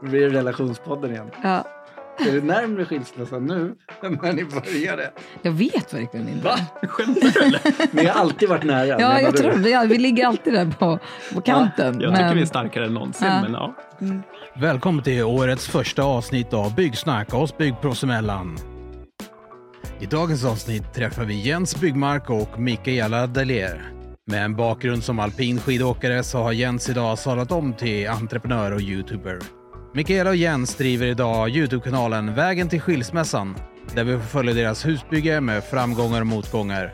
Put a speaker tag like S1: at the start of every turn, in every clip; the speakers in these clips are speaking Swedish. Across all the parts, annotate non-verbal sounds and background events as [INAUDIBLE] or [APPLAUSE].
S1: Då blir det relationspodden igen.
S2: Ja.
S1: Är du närmare skilsmässan nu än när ni började?
S2: Jag vet verkligen inte.
S1: Va?
S3: Skämtar du eller?
S1: Ni har alltid varit nära.
S2: Ja,
S1: menar
S2: jag
S1: du?
S2: tror det. Ja, Vi ligger alltid där på, på kanten.
S3: Jag tycker
S2: men,
S3: vi är starkare än någonsin.
S2: Ja.
S3: Men, ja.
S4: Välkommen till årets första avsnitt av Byggsnack oss byggproffs emellan. I dagens avsnitt träffar vi Jens Byggmark och Mikaela Dalier. Med en bakgrund som alpin skidåkare så har Jens idag sadlat om till entreprenör och youtuber. Mikaela och Jens driver idag Youtube-kanalen Vägen till skilsmässan där vi följer deras husbygge med framgångar och motgångar.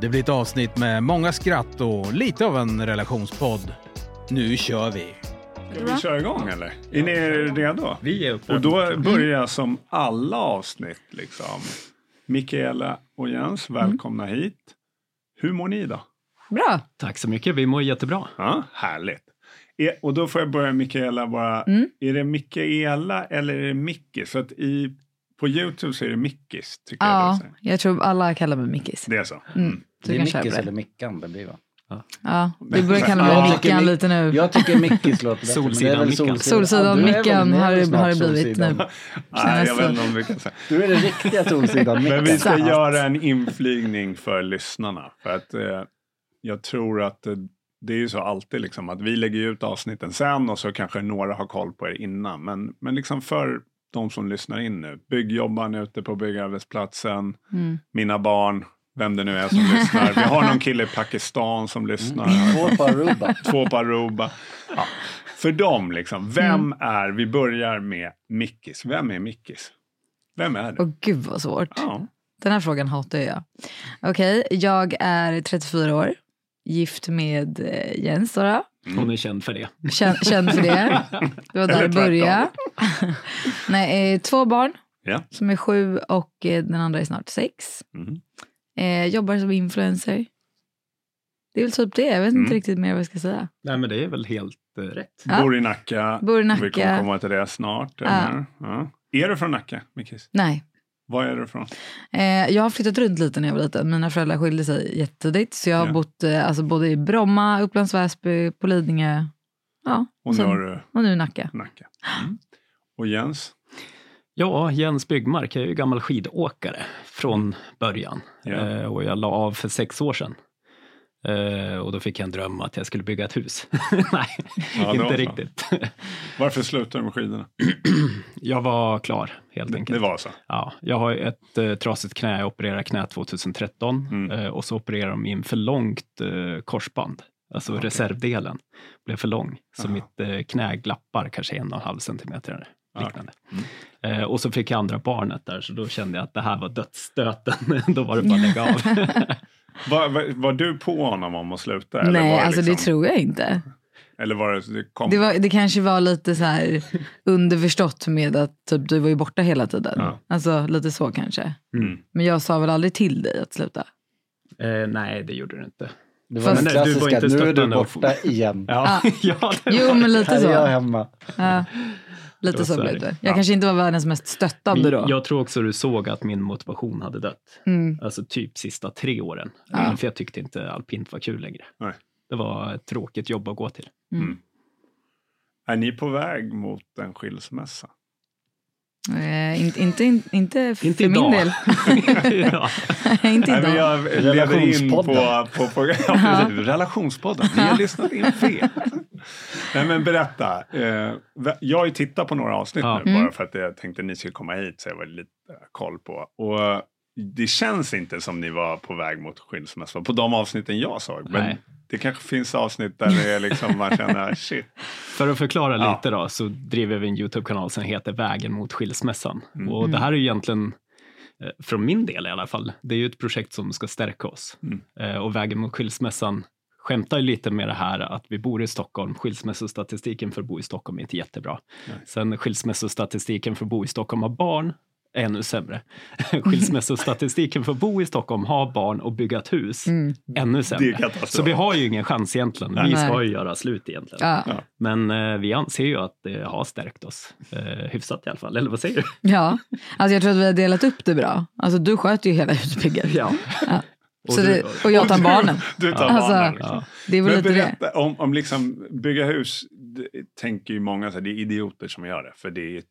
S4: Det blir ett avsnitt med många skratt och lite av en relationspodd. Nu kör vi!
S5: Ska vi köra igång eller? Är ni redo?
S3: Vi är uppe.
S5: Och då börjar jag som alla avsnitt liksom. Mikaela och Jens, välkomna hit. Hur mår ni då?
S2: Bra.
S3: Tack så mycket. Vi mår jättebra.
S5: Ja, härligt. E- och då får jag börja Mikaela bara. Är det Mikaela eller är det Mickis? För att i, på Youtube så är det Mickis. Tycker jag
S2: Ja,
S5: det, är.
S2: jag tror alla kallar mig Mickis.
S5: det är så.
S2: Mm, så
S1: Det
S2: du
S1: är
S2: kan köra på
S1: Mickis
S2: det.
S1: eller Mickan det blir va?
S2: Ja, du börjar kalla
S5: Ja,
S2: mig
S5: jag
S1: tycker
S2: Mickan
S1: Mick-
S2: lite nu.
S1: Jag tycker Mickis låter bättre. men det är
S3: Solsidan
S1: väl
S3: Mickan.
S2: Solsidan
S1: du är väl-
S2: Mickan
S1: nu är
S2: har
S1: du
S2: det-
S1: snart
S2: har det blivit nu.
S1: Solsidan.
S5: Nej, jag
S2: Känns
S5: vet inte om vi kan säga.
S1: Du är den riktiga Solsidan Mickan.
S5: Men vi ska
S2: Exakt.
S5: göra en inflygning för lyssnarna. För att eh, jag tror att eh, det är ju så alltid liksom att vi lägger ut avsnitten sen och så kanske några har koll på er innan. Men, men liksom för de som lyssnar in nu, byggjobbaren ute på byggarbetsplatsen,
S2: Mm.
S5: mina barn, vem det nu är som lyssnar. Vi har någon kille i Pakistan som lyssnar.
S1: Två par rubba.
S5: Två på Aruba. Ja. För dem, liksom, vem
S2: Mm.
S5: är, vi börjar med Mickis. Vem är Mickis? Vem är du?
S2: Åh gud vad svårt.
S5: Ja.
S2: Den här frågan hatar jag. Okej, jag är 34 år. Gift med eh, Jens då. då.
S3: Hon är känd för det.
S2: Känd, känd för det. Det var där det
S5: Eller
S2: började. Nej, eh, två barn
S5: Ja.
S2: som är sju och eh, den andra är snart sex.
S5: Mm.
S2: Eh, jobbar som influencer. Det är väl typ det. Jag vet
S5: Mm.
S2: inte riktigt mer vad jag ska säga.
S3: Nej, men det är väl helt eh, rätt.
S2: Ja.
S5: Bor i Nacka.
S2: Bor i
S5: Vi kommer
S2: Nacka.
S5: komma till det snart. eller
S2: Ja.
S5: hur? Ja. Är du från Nacka, Mikis?
S2: Nej.
S5: Var är du från?
S2: Eh, jag har flyttat runt lite när jag var liten. Mina föräldrar skilde sig jättetidigt. Så jag har
S5: Ja.
S2: bott eh, alltså, både i Bromma, Upplands Väsby, på Lidingö. Ja,
S5: Och nu
S2: Sen-
S5: har du
S2: och nu Nacka.
S5: Nacka. Mm. Och Jens?
S3: Ja, Jens Byggmark jag är ju gammal skidåkare från början.
S5: Ja.
S3: Eh, och jag la av för sex år sedan. Eh, och då fick jag en dröm att jag skulle bygga ett hus. [LAUGHS] Nej,
S5: Ja, då
S3: inte
S5: så.
S3: riktigt. [LAUGHS]
S5: Varför slutade du med skidorna?
S3: jag var klar, helt enkelt.
S5: Det var så.
S3: Ja, jag har ju ett eh, trasigt knä. Jag opererade knä 2013
S5: Mm.
S3: eh, och så opererade de in för långt eh, korsband. Alltså
S5: Okej.
S3: reservdelen blev för lång, så
S5: Aha.
S3: mitt eh, knä glappar kanske en och en halv centimeter. Eller
S5: Ah,
S3: liknande.
S5: Mm.
S3: Eh, och så fick jag andra barnet där, så då kände jag att det här var dödsstöten. [LAUGHS] då var det bara att lägga av.
S5: [LAUGHS] Var, var, var du på honom om att sluta? eller
S2: Nej,
S5: var
S2: alltså det
S5: liksom-
S2: tror jag inte.
S5: Eller var det, det kom?
S2: Det, var, det kanske var lite så här underförstått med att typ, du var ju borta hela tiden.
S5: Ja.
S2: Alltså lite så kanske.
S5: Mm.
S2: Men jag sa väl aldrig till dig att sluta?
S3: eh, nej, det gjorde det inte.
S1: Det var den
S2: Men
S3: du var
S1: klassiska,
S3: inte
S1: nu är du
S3: stöttande och-
S1: borta igen.
S3: Ja, [LAUGHS] ja, det
S2: Jo,
S3: var-
S2: men lite
S1: Här är jag
S2: så.
S1: hemma.
S2: Ja.
S3: Det var
S2: Lite så
S3: så
S2: blev
S3: det.
S2: det. Jag kanske inte var världens mest stöttande då.
S3: Jag tror också du såg att min motivation hade dött.
S2: Mm.
S3: alltså typ sista tre åren.
S2: Ja.
S3: För jag tyckte inte alpint var kul längre.
S5: Nej.
S3: Det var ett tråkigt jobb att gå till.
S2: mm.
S5: Är ni på väg mot en skilsmässa? Mm.
S2: Eh, inte, inte, inte, inte för
S3: Inte
S2: min
S3: idag.
S2: del. [LAUGHS]
S3: [LAUGHS] ja.
S2: inte
S5: Nej, men
S2: idag.
S5: jag leder in på,
S1: Relationspodden.
S5: på,
S2: [LAUGHS]
S5: på ja, precis, relationspodden. Ni har lyssnat in fel. Nej, men berätta. Eh, va- jag har ju tittat på några avsnitt
S3: Ja.
S5: nu,
S2: Mm.
S5: bara för att jag tänkte ni skulle komma hit, så jag var lite eh, koll på. Och eh, det känns inte som ni var på väg mot skilsmässa på de avsnitten jag såg. Men
S3: Nej.
S5: det kanske finns avsnitt där det är liksom
S2: [LAUGHS]
S5: man känner shit.
S3: För att förklara
S5: Ja.
S3: lite då, så driver vi en YouTube-kanal som heter Vägen mot skilsmässan.
S5: Mm.
S3: Och det här är ju egentligen, eh, från min del i alla fall, det är ju ett projekt som ska stärka oss.
S5: Mm.
S3: Eh, Och Vägen mot skilsmässan skämtar ju lite med det här att vi bor i Stockholm. Skilsmässostatistiken för att bo i Stockholm är inte jättebra.
S5: Nej.
S3: Sen skilsmässostatistiken för att bo i Stockholm och ha barn är ännu sämre. [LAUGHS] Skilsmässostatistiken för att bo i Stockholm, ha barn och bygga ett hus,
S2: Mm.
S3: ännu
S5: Det är
S3: sämre.
S5: katastrof.
S3: Så vi har ju ingen chans egentligen.
S5: Nej.
S3: Vi ska ju göra slut egentligen.
S2: Ja.
S3: Men eh, vi anser ju att det har stärkt oss eh, hyfsat i alla fall. Eller vad
S5: [LAUGHS]
S3: säger du?
S2: ja, alltså jag tror att vi har delat upp det bra. Alltså du sköter ju hela [LAUGHS] utbygget.
S3: Ja.
S2: Och, så det, och jag tar
S5: du-
S2: barnen.
S5: Du tar
S3: Ja.
S2: Alltså,
S5: barnen. Liksom.
S3: Ja.
S2: Det är väl
S5: Men
S2: lite det.
S5: berätta om, om liksom bygga hus, det, tänker ju många så här, det är idioter som gör det, för det är ett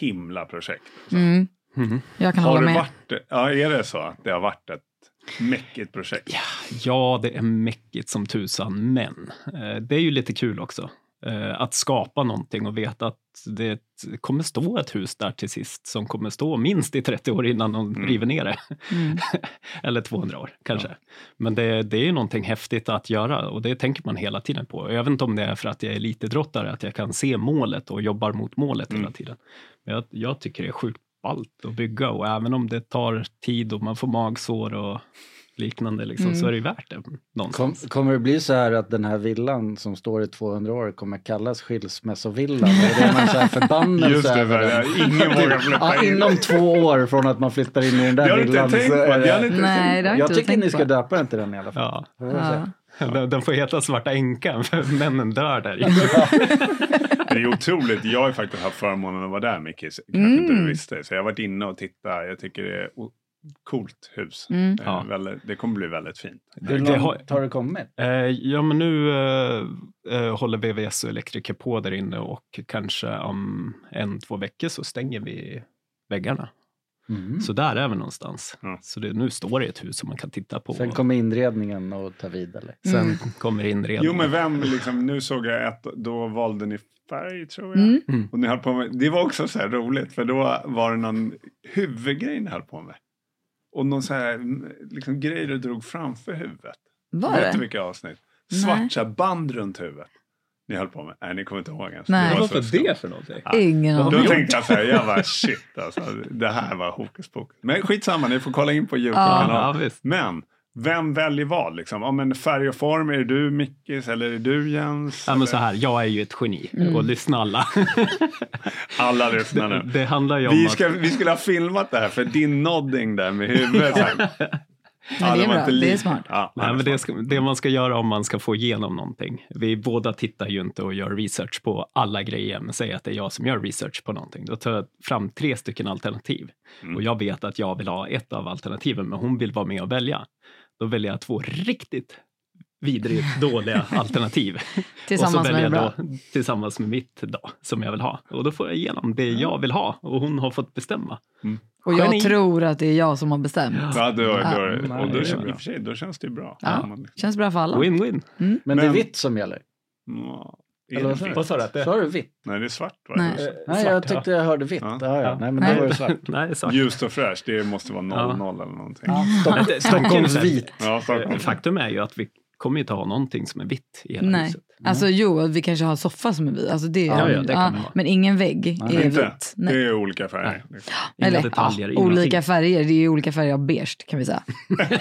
S5: himla projekt.
S2: Mm.
S3: Mhm.
S2: Jag kan
S5: Har
S2: hålla
S5: det
S2: med.
S5: varit, ja, är det så att det har varit ett mäckigt projekt?
S3: Ja, det är mäckigt som tusan, men eh, det är ju lite kul också. Eh, att skapa någonting och veta att det kommer stå ett hus där till sist som kommer stå minst i 30 år innan de
S5: Mm.
S3: river ner det.
S2: Mm.
S3: [LAUGHS] Eller 200 år kanske. Men det, det är ju någonting häftigt att göra och det tänker man hela tiden på. Jag vet inte om det är för att jag är elitidrottare, att jag kan se målet och jobbar mot målet
S5: Mm.
S3: hela tiden. Men jag, jag tycker det är sjukt ballt att bygga och även om det tar tid och man får magsår och liknande liksom,
S2: Mm.
S3: så är det ju värt det
S1: Kom,
S3: någonstans.
S1: kommer det bli så här att den här villan som står i 200 år kommer kallas skilsmässovillan? Är det någon så här förbannelse
S5: Just det,
S1: över den?
S5: för
S1: [LAUGHS]
S5: ingen vågar
S1: Ja,
S5: flytta in.
S1: inom två år från att man flyttar in i den
S5: Det har
S1: där
S5: du inte
S1: villan.
S5: tänkt
S1: så
S5: på.
S1: är
S5: Det har ni inte
S2: Nej, det har
S1: Jag
S2: inte
S1: tycker
S2: tänkt
S1: ni ska
S2: på.
S1: döpa den till den i alla fall.
S3: Ja.
S1: Får jag
S2: Ja.
S1: säga.
S3: Den, den får heta Svarta änkan för männen dör där. i.
S5: Det är otroligt. Jag har ju faktiskt haft förmånen att vara där, Micke. Kanske inte du
S2: Mm.
S5: visste. Så jag har varit inne och tittat. Jag tycker det är o- coolt hus.
S2: Mm.
S5: Eh,
S3: Ja.
S5: väldigt- Det kommer bli väldigt fint.
S1: Hur
S3: Det har-
S1: långt har det kommit?
S3: Eh, ja, men nu eh, eh, håller VVS och elektriker på där inne och kanske om en, två veckor så stänger vi väggarna.
S1: Mm.
S3: Så där är vi någonstans.
S5: Ja.
S3: Så det, nu står det ett hus som man kan titta på.
S1: Sen kommer inredningen och tar vid eller?
S3: [LAUGHS] Sen
S2: Mm.
S3: kommer inredningen.
S5: Jo, men vem liksom, nu såg jag ett, då valde ni färg tror jag.
S2: Mm.
S5: Och ni höll på med, det var också så här roligt, för då var det någon huvudgrej ni höll på med. Och någon så här mm, liksom, grej du drog framför huvudet.
S2: Var
S5: Vet
S2: det?
S5: du vilka avsnitt?
S2: Nej.
S5: Svart så här band runt huvudet. Ni höll på med. Nej, ni kommer inte ihåg ens.
S2: Nej.
S5: var
S6: Vad
S5: så
S6: var
S5: skumt.
S6: det för någonting?
S2: Ingen
S5: Då
S2: aning.
S5: tänkte jag så här, jag bara shit alltså, det här var hokus pokus. Men skitsamma, ni får kolla in på
S3: Ja,
S5: Youtube-kanalen.
S3: ja, visst.
S5: Men vem väljer vad liksom? Ja, men färg och form, är det du Mickis eller är det du Jens?
S3: Ja, men
S5: Eller-
S3: så här, jag är ju ett geni
S2: Mm.
S3: och lyssna alla.
S5: Alla lyssnar
S3: det,
S5: nu.
S3: det handlar ju om
S5: Vi,
S3: att...
S5: ska, vi skulle ha filmat det här för din nodding där med
S3: [LAUGHS]
S5: huvudet. så här.
S2: Men det är
S5: var
S2: bra.
S5: inte
S2: Det är
S5: lik.
S2: smart.
S5: Ja,
S3: Nej,
S5: han är
S3: men det,
S5: smart.
S3: ska, det man ska göra om man ska få igenom någonting. Vi båda tittar ju inte och gör research på alla grejer, men säg att det är jag som gör research på någonting. Då tar jag fram tre stycken alternativ.
S5: Mm.
S3: Och jag vet att jag vill ha ett av alternativen, men hon vill vara med och välja. Då väljer jag två riktigt vidrigt dåliga alternativ. och
S2: Tillsammans med
S3: så väljer
S2: det
S3: jag
S2: bra.
S3: då tillsammans med mitt då, som jag vill ha. Och då får jag igenom det jag vill ha och hon har fått bestämma.
S2: Och jag
S3: Geni.
S2: tror att det är jag som har bestämt.
S5: Ja, då, då,
S3: Ja,
S5: och då,
S3: det är
S5: känns-
S3: bra.
S5: i och för sig, då känns det ju bra.
S2: Ja.
S5: Om man-
S2: Känns bra för alla.
S3: Win-win.
S1: Men, det är
S5: Men-
S1: vitt som gäller.
S5: Ja, är
S1: Eller vad
S5: det
S1: sa du?
S5: vitt?
S6: Vad sa du att det
S1: Sa du vitt?
S5: Nej, det är svart. Va?
S2: Nej.
S5: Det är
S1: Nej, jag tyckte jag hörde vitt.
S5: Ja.
S1: Ja, ja.
S3: Ja.
S1: Nej, men då
S2: Nej.
S1: var det
S5: [LAUGHS]
S1: svart.
S3: [LAUGHS] Nej,
S5: svart.
S3: sagt.
S5: Ljust och fräscht, det måste vara 00
S3: Ja.
S5: eller någonting.
S1: Ja,
S3: Men
S1: Stock,
S3: det-
S1: Stockholms vit.
S5: Ja, Stockholm.
S3: Faktum är ju att vi kommer ju inte ha någonting som är vitt i hela
S2: Nej.
S3: huset.
S2: Alltså jo, att vi kanske har en soffa som är vit. Alltså, det,
S3: Ja, ja, det kan man ha.
S2: men ingen vägg
S1: Nej,
S2: är
S5: Inte?
S2: vit.
S5: Det är olika färger.
S3: Inga
S2: Eller,
S3: detaljer,
S2: ja,
S3: ingenting.
S2: olika färger. Det är ju olika färger av beige kan vi säga.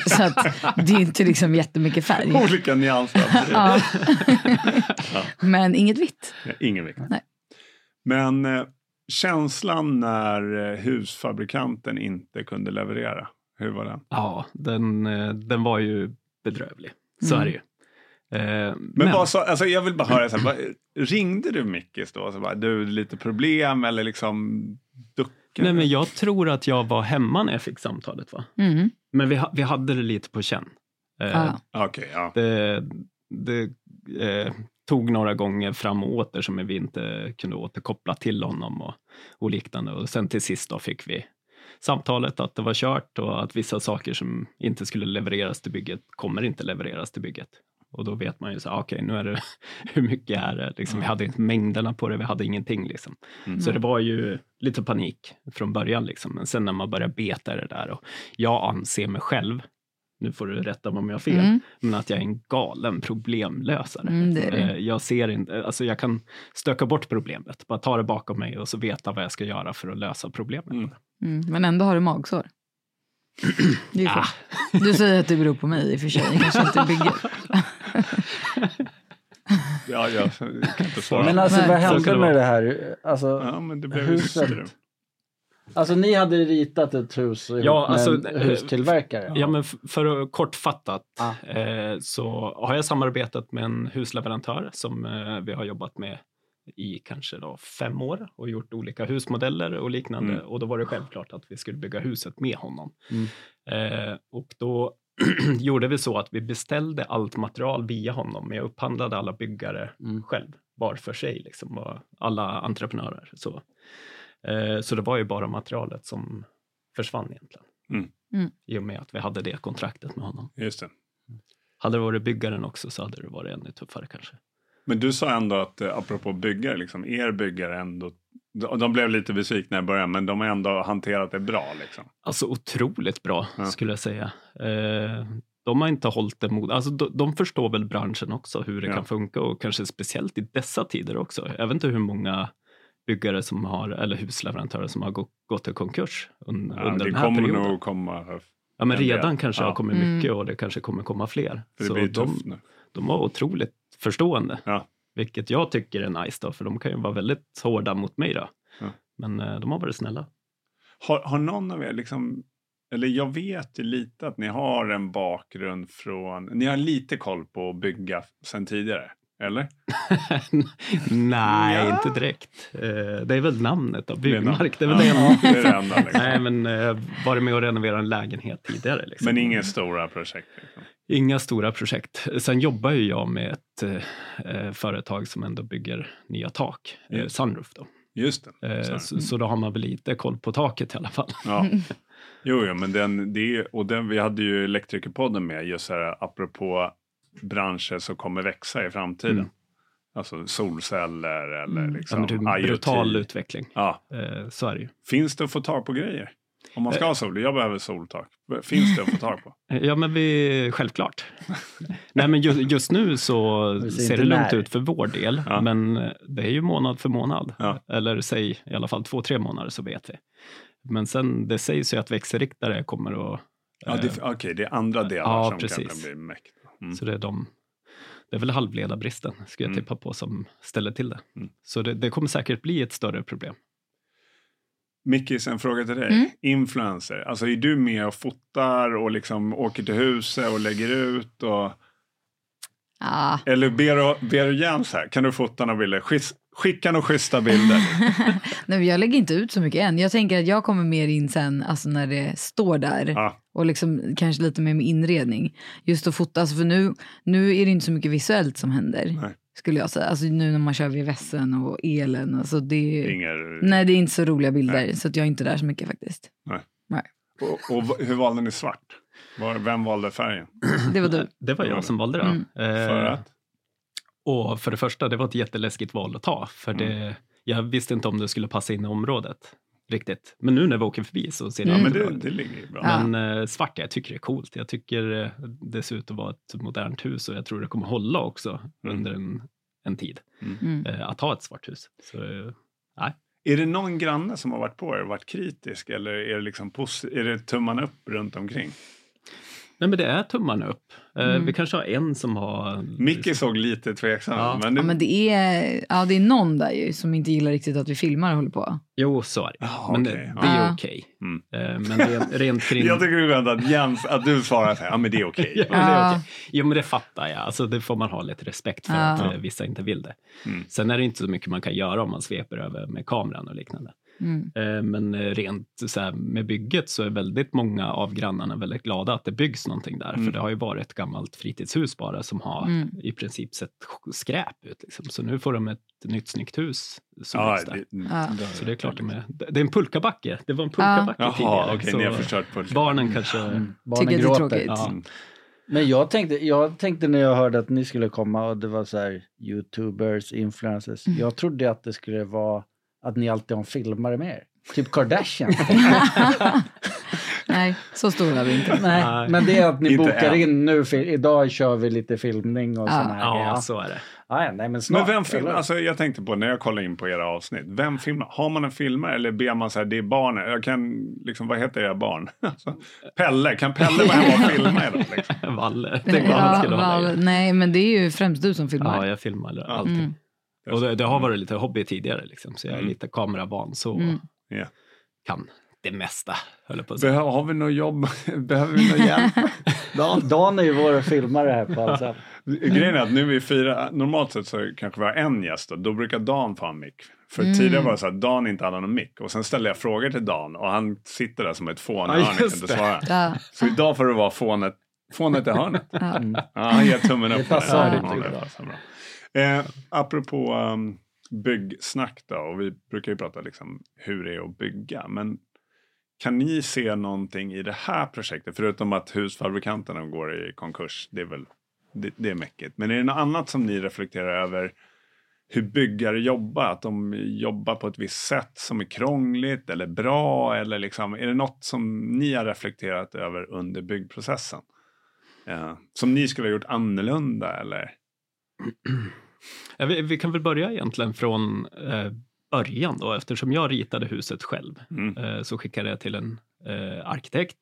S2: så att det är inte liksom jättemycket färg.
S5: Olika nyanser.
S2: [LAUGHS] Ja. Men inget vitt.
S5: Nej, Ingen vikt.
S2: Nej.
S5: Men eh, känslan när eh, husfabrikanten inte kunde leverera, hur var den?
S3: Ja, den, eh, den var ju bedrövlig. Så
S5: Mm.
S3: är det ju. Eh,
S5: Men, vad sa, alltså jag vill bara höra, så här, vad, ringde du Mickis då? Så bara, du, lite problem eller liksom duckade?
S3: nej, men jag tror att jag var hemma när jag fick samtalet. Va?
S2: Mm.
S3: Men vi, ha- vi hade det lite på känn. Eh,
S5: Ah.
S2: Ja.
S5: Okej, ja.
S3: Det, det eh, tog några gånger fram och åter som vi inte kunde återkoppla till honom och, och liknande. Och sen till sist då fick vi samtalet att det var kört och att vissa saker som inte skulle levereras till bygget kommer inte levereras till bygget. Och då vet man ju så här, "Ah, okej, nu är det, [LAUGHS] hur mycket är det? Liksom, vi hade inte mängderna på det, vi hade ingenting liksom.
S5: Mm.
S3: Så det var ju lite panik från början liksom. Men sen när man börjar beta i det där och jag anser mig själv, nu får du rätta mig om jag har fel,
S2: Mm.
S3: men att jag är en galen problemlösare.
S2: Mm, det är det.
S3: Eh, Jag ser inte, alltså jag kan stöka bort problemet, bara ta det bakom mig och så veta vad jag ska göra för att lösa problemet.
S5: Mm.
S2: Mm. Men ändå har du magsår. [CLEARS THROAT] Det är ju
S3: Ah.
S2: sjukt. Du säger att det beror på mig i och för [LAUGHS] sig. Jag kanske inte bygger.
S5: ja, jag kan inte svara.
S1: Men alltså
S2: Nej.
S1: vad
S2: Så
S3: kan
S1: hände
S3: det
S1: med
S3: vara.
S1: det här? Alltså,
S5: ja, men det blev ju
S1: huset.
S5: strul.
S1: alltså ni hade ritat ett hus ihop
S3: Ja, alltså,
S1: med en
S3: eh,
S1: hustillverkare.
S3: Ja, men f- för att kortfattat
S1: Ah.
S3: eh, så har jag samarbetat med en husleverantör som eh, vi har jobbat med i kanske då fem år och gjort olika husmodeller och liknande.
S5: Mm.
S3: Och då var det självklart att vi skulle bygga huset med honom.
S1: Mm.
S3: Eh, och då [CLEARS THROAT] gjorde vi så att vi beställde allt material via honom, men jag upphandlade alla byggare
S1: Mm.
S3: själv, var för sig, liksom, och alla entreprenörer. Så. Eh, så det var ju bara materialet som försvann egentligen.
S5: Mm.
S2: Mm.
S3: I och med att vi hade det kontraktet med honom.
S5: Just det.
S3: Hade det varit byggaren också så hade det varit ännu tuffare kanske.
S5: Men du sa ändå att, eh, apropå byggare, liksom, er byggare ändå... de- De blev lite besvikna i början, men de har ändå hanterat det bra. Liksom.
S3: Alltså otroligt bra
S5: Ja.
S3: skulle jag säga. Eh, de har inte hållit det mot, alltså de, de förstår väl branschen också hur det
S5: Ja.
S3: kan funka och kanske speciellt i dessa tider också. Jag vet inte hur många byggare som har, eller husleverantörer som har gå- gått i konkurs un,
S5: Ja,
S3: under
S5: det
S3: den här
S5: kommer
S3: perioden.
S5: nog komma,
S3: ja, men
S5: en del.
S3: redan kanske
S5: Ja.
S3: har kommit
S2: Mm.
S3: mycket och det kanske kommer komma fler.
S5: för det
S3: Så
S5: blir ju
S3: de,
S5: tufft nu.
S3: de var otroligt förstående,
S5: Ja.
S3: vilket jag tycker är nice då, för de kan ju vara väldigt hårda mot mig då.
S5: Ja.
S3: Men eh, de har varit snälla.
S5: Har, har någon av er liksom, eller jag vet ju lite att ni har en bakgrund från, ni har lite koll på att bygga sen tidigare, eller?
S3: Nej,
S5: Ja.
S3: inte direkt. Eh, Det är väl namnet då,
S5: Det är namn.
S3: byggmark. Det är väl det.
S5: Ja, det är det enda. Liksom.
S3: Nej, men eh, varit med och renovera en lägenhet tidigare. Liksom.
S5: Men inga stora projekt. Liksom.
S3: Inga stora projekt. Sen jobbar ju jag med ett eh, eh, företag som ändå bygger nya tak, eh,
S5: Mm.
S3: Sunroof. Då.
S5: Just det.
S3: Eh,
S5: Sorry.
S3: så, så då har man väl lite koll på taket i alla fall. [LAUGHS]
S5: Ja. Jo, jo, men den, det, och den, vi hade ju Elektrikerpodden med just så här apropå branscher som kommer växa i framtiden.
S3: Mm.
S5: Alltså solceller eller
S2: Mm.
S3: Ja, men
S5: liksom
S3: det är en brutal
S5: IoT.
S3: utveckling.
S5: Ja.
S3: Eh, så är det ju.
S5: Finns det att få tag på grejer? Om man ska ha sol, jag behöver soltak. Finns det att få
S3: [LAUGHS]
S5: tag på?
S3: Ja, men vi, självklart. Nej, men just, just nu så
S1: Vi ser
S3: ser det
S1: inte
S3: lugnt
S1: när.
S3: ut för vår del,
S5: Ja.
S3: men det är ju månad för månad.
S5: Ja.
S3: Eller säg i alla fall två, tre månader så vet vi. Men sen, det sägs ju att växelriktare kommer att...
S5: Ja, det, okej, det är andra delar
S3: ja,
S5: som
S3: precis.
S5: kanske blir mäktiga. Mm.
S3: Så det är, de, det är väl halvledarbristen, skulle jag
S5: Mm.
S3: tippa på, som ställer till det.
S5: Mm.
S3: Så det, det kommer säkert bli ett större problem.
S5: Mickis, en fråga till dig.
S2: Mm.
S5: Influencer, alltså är du med och fotar och liksom åker till huset och lägger ut? Och,
S2: Ah.
S5: eller ber du, ber du Jens här, kan du fota några bilder? Skis, skicka några
S2: [LAUGHS]
S5: schyssta bilder.
S2: Nej, men jag lägger inte ut så mycket än. Jag tänker att jag kommer mer in sen, alltså när det står där.
S5: Ja.
S2: Och liksom kanske lite mer med inredning. Just att fota, alltså för nu, nu är det inte så mycket visuellt som händer.
S5: Nej.
S2: Skulle jag säga. Alltså nu när man kör vid vässen och elen. Alltså det,
S5: Inger,
S2: nej, det är inte så roliga bilder. Så att jag är inte där så mycket faktiskt.
S5: och, och v- hur valde ni svart? Var, vem valde färgen?
S2: Det var du.
S3: Det var
S5: Ja.
S3: jag som valde det.
S2: Mm.
S3: Eh,
S5: För att?
S3: Och för det första, det var ett jätteläskigt val att ta. För
S5: Mm.
S3: det, jag visste inte om det skulle passa in i området riktigt. Men nu när vi åker förbi så ser det
S5: Ja,
S2: Mm.
S5: men
S3: jättebra
S5: det,
S3: ut.
S5: det ligger ju bra.
S2: Ja.
S3: Men eh, svart, jag tycker det är coolt. Jag tycker eh, det ser ut att vara ett modernt hus och jag tror det kommer hålla också
S5: Mm.
S3: under en, en tid
S2: Mm.
S3: eh, att ha ett svart hus. Så, eh,
S5: Är det någon granne som har varit på er och varit kritisk eller är det, liksom posi- är det tummarna upp runt omkring?
S3: nej, men det är tummarna upp. Eh,
S2: Mm.
S3: Vi kanske har en som har...
S5: Micke såg lite tveksam
S3: Ja.
S5: ut. Men, nu-
S2: Ja men det är, ja, det är någon där ju som inte gillar riktigt att vi filmar och håller på.
S3: Jo, så är det.
S5: Ah,
S3: Men
S5: okej,
S3: det,
S5: ja.
S3: det är
S2: Ja.
S3: okej.
S5: Mm.
S3: Eh, men rent, rent kring...
S5: [LAUGHS] Jag tycker det är skönt att, Jens, att du svarar så här, [LAUGHS] ja men det är okej.
S3: Ja, men det är
S2: Ja.
S3: okej. Jo, men det fattar jag. Alltså, det får man ha lite respekt för
S2: Ja.
S3: att eh,
S5: Ja.
S3: vissa inte vill det.
S5: Mm.
S3: Sen är det inte så mycket man kan göra om man sveper över med kameran och liknande.
S2: Mm.
S3: Eh, Men eh, rent så här, med bygget så är väldigt många av grannarna väldigt glada att det byggs någonting där.
S5: Mm.
S3: För det har ju varit ett gammalt fritidshus bara som har
S2: Mm.
S3: i princip sett skräp ut. Liksom. Så nu får de ett nytt snyggt hus som
S5: Ja,
S3: byggs där.
S5: det,
S2: Ja.
S3: Så det är klart de är. Det är en pulkabacke. Det var en
S2: Ja.
S3: pulkabacke
S5: Jaha,
S3: tidigare.
S5: okej,
S3: så
S5: ni har förstört pulsen.
S3: barnen kanske...
S1: mm.
S5: Mm.
S1: Barnen
S2: Tycker det är
S1: gråter.
S2: tråkigt.
S3: Ja.
S1: Men jag tänkte, jag tänkte när jag hörde att ni skulle komma och det var så här youtubers, influencers.
S2: Mm.
S1: Jag trodde att det skulle vara att ni alltid har en filmare med er. Typ Kardashian.
S2: [LAUGHS] Nej, så stor är vi inte.
S1: Nej, men det är att ni
S5: Inte
S1: bokar
S5: än.
S1: in nu. För idag kör vi lite filmning och
S2: Ja.
S1: sådana här
S3: Ja, alltså.
S1: grejer. Ah,
S3: så är det. [LAUGHS]
S1: Ja, ja, nej, men snart.
S5: Men vem filmar?
S1: eller?
S5: Alltså, jag tänkte på när jag kollade in på era avsnitt. Vem filmar? Har man en filmare eller ber man så här, det är barnen. Jag kan, liksom, vad heter era barn? [LAUGHS] Alltså, Pelle, kan Pelle vara hemma och filma idag? Liksom?
S3: Valle. Tänk vad han
S2: Ja,
S3: skulle ha
S2: val, nej, men det är ju främst du som filmar.
S3: Ja, jag filmar allting.
S2: Mm.
S3: Och det, det har varit lite hobby tidigare, liksom, så jag är
S5: Mm.
S3: lite kameravan så
S2: Mm.
S5: Ja.
S3: kan det mesta, höll jag på att säga.
S5: Behö- har vi något jobb? [LAUGHS] Behöver vi
S2: [LAUGHS]
S5: någon hjälp?
S1: Dan, Dan är ju vår filmare här på Allsam.
S5: Grejen är att nu är vi fyra, normalt sett så kanske vi har en gäst och då brukar Dan få en mick. För
S2: Mm.
S5: tidigare var det så att Dan inte hade någon mick och sen ställde jag frågor till Dan och han sitter där som ett fån och
S3: Ja,
S5: han kan
S3: just
S5: inte
S3: det.
S5: svara.
S2: Ja.
S5: Så idag får du vara fånet Fånet i hörnet.
S2: Ja.
S1: Mm.
S5: Ja, han ger tummen
S1: Det
S5: upp. på
S1: passar
S5: det.
S2: riktigt
S5: Ja, det
S1: bra.
S5: passar bra. Eh, apropå um, byggsnack då, och vi brukar ju prata liksom hur det är att bygga, men kan ni se någonting i det här projektet, förutom att husfabrikanterna går i konkurs, det är väl det, det är mäckigt. Men är det något annat som ni reflekterar över hur byggare jobbar? Att de jobbar på ett visst sätt som är krångligt eller bra? Eller liksom, är det något som ni har reflekterat över under byggprocessen? Eh, som ni skulle ha gjort annorlunda eller?
S3: Ja, vi, vi kan väl börja egentligen från eh, början då, eftersom jag ritade huset själv
S5: Mm.
S3: eh, så skickade jag till en eh, arkitekt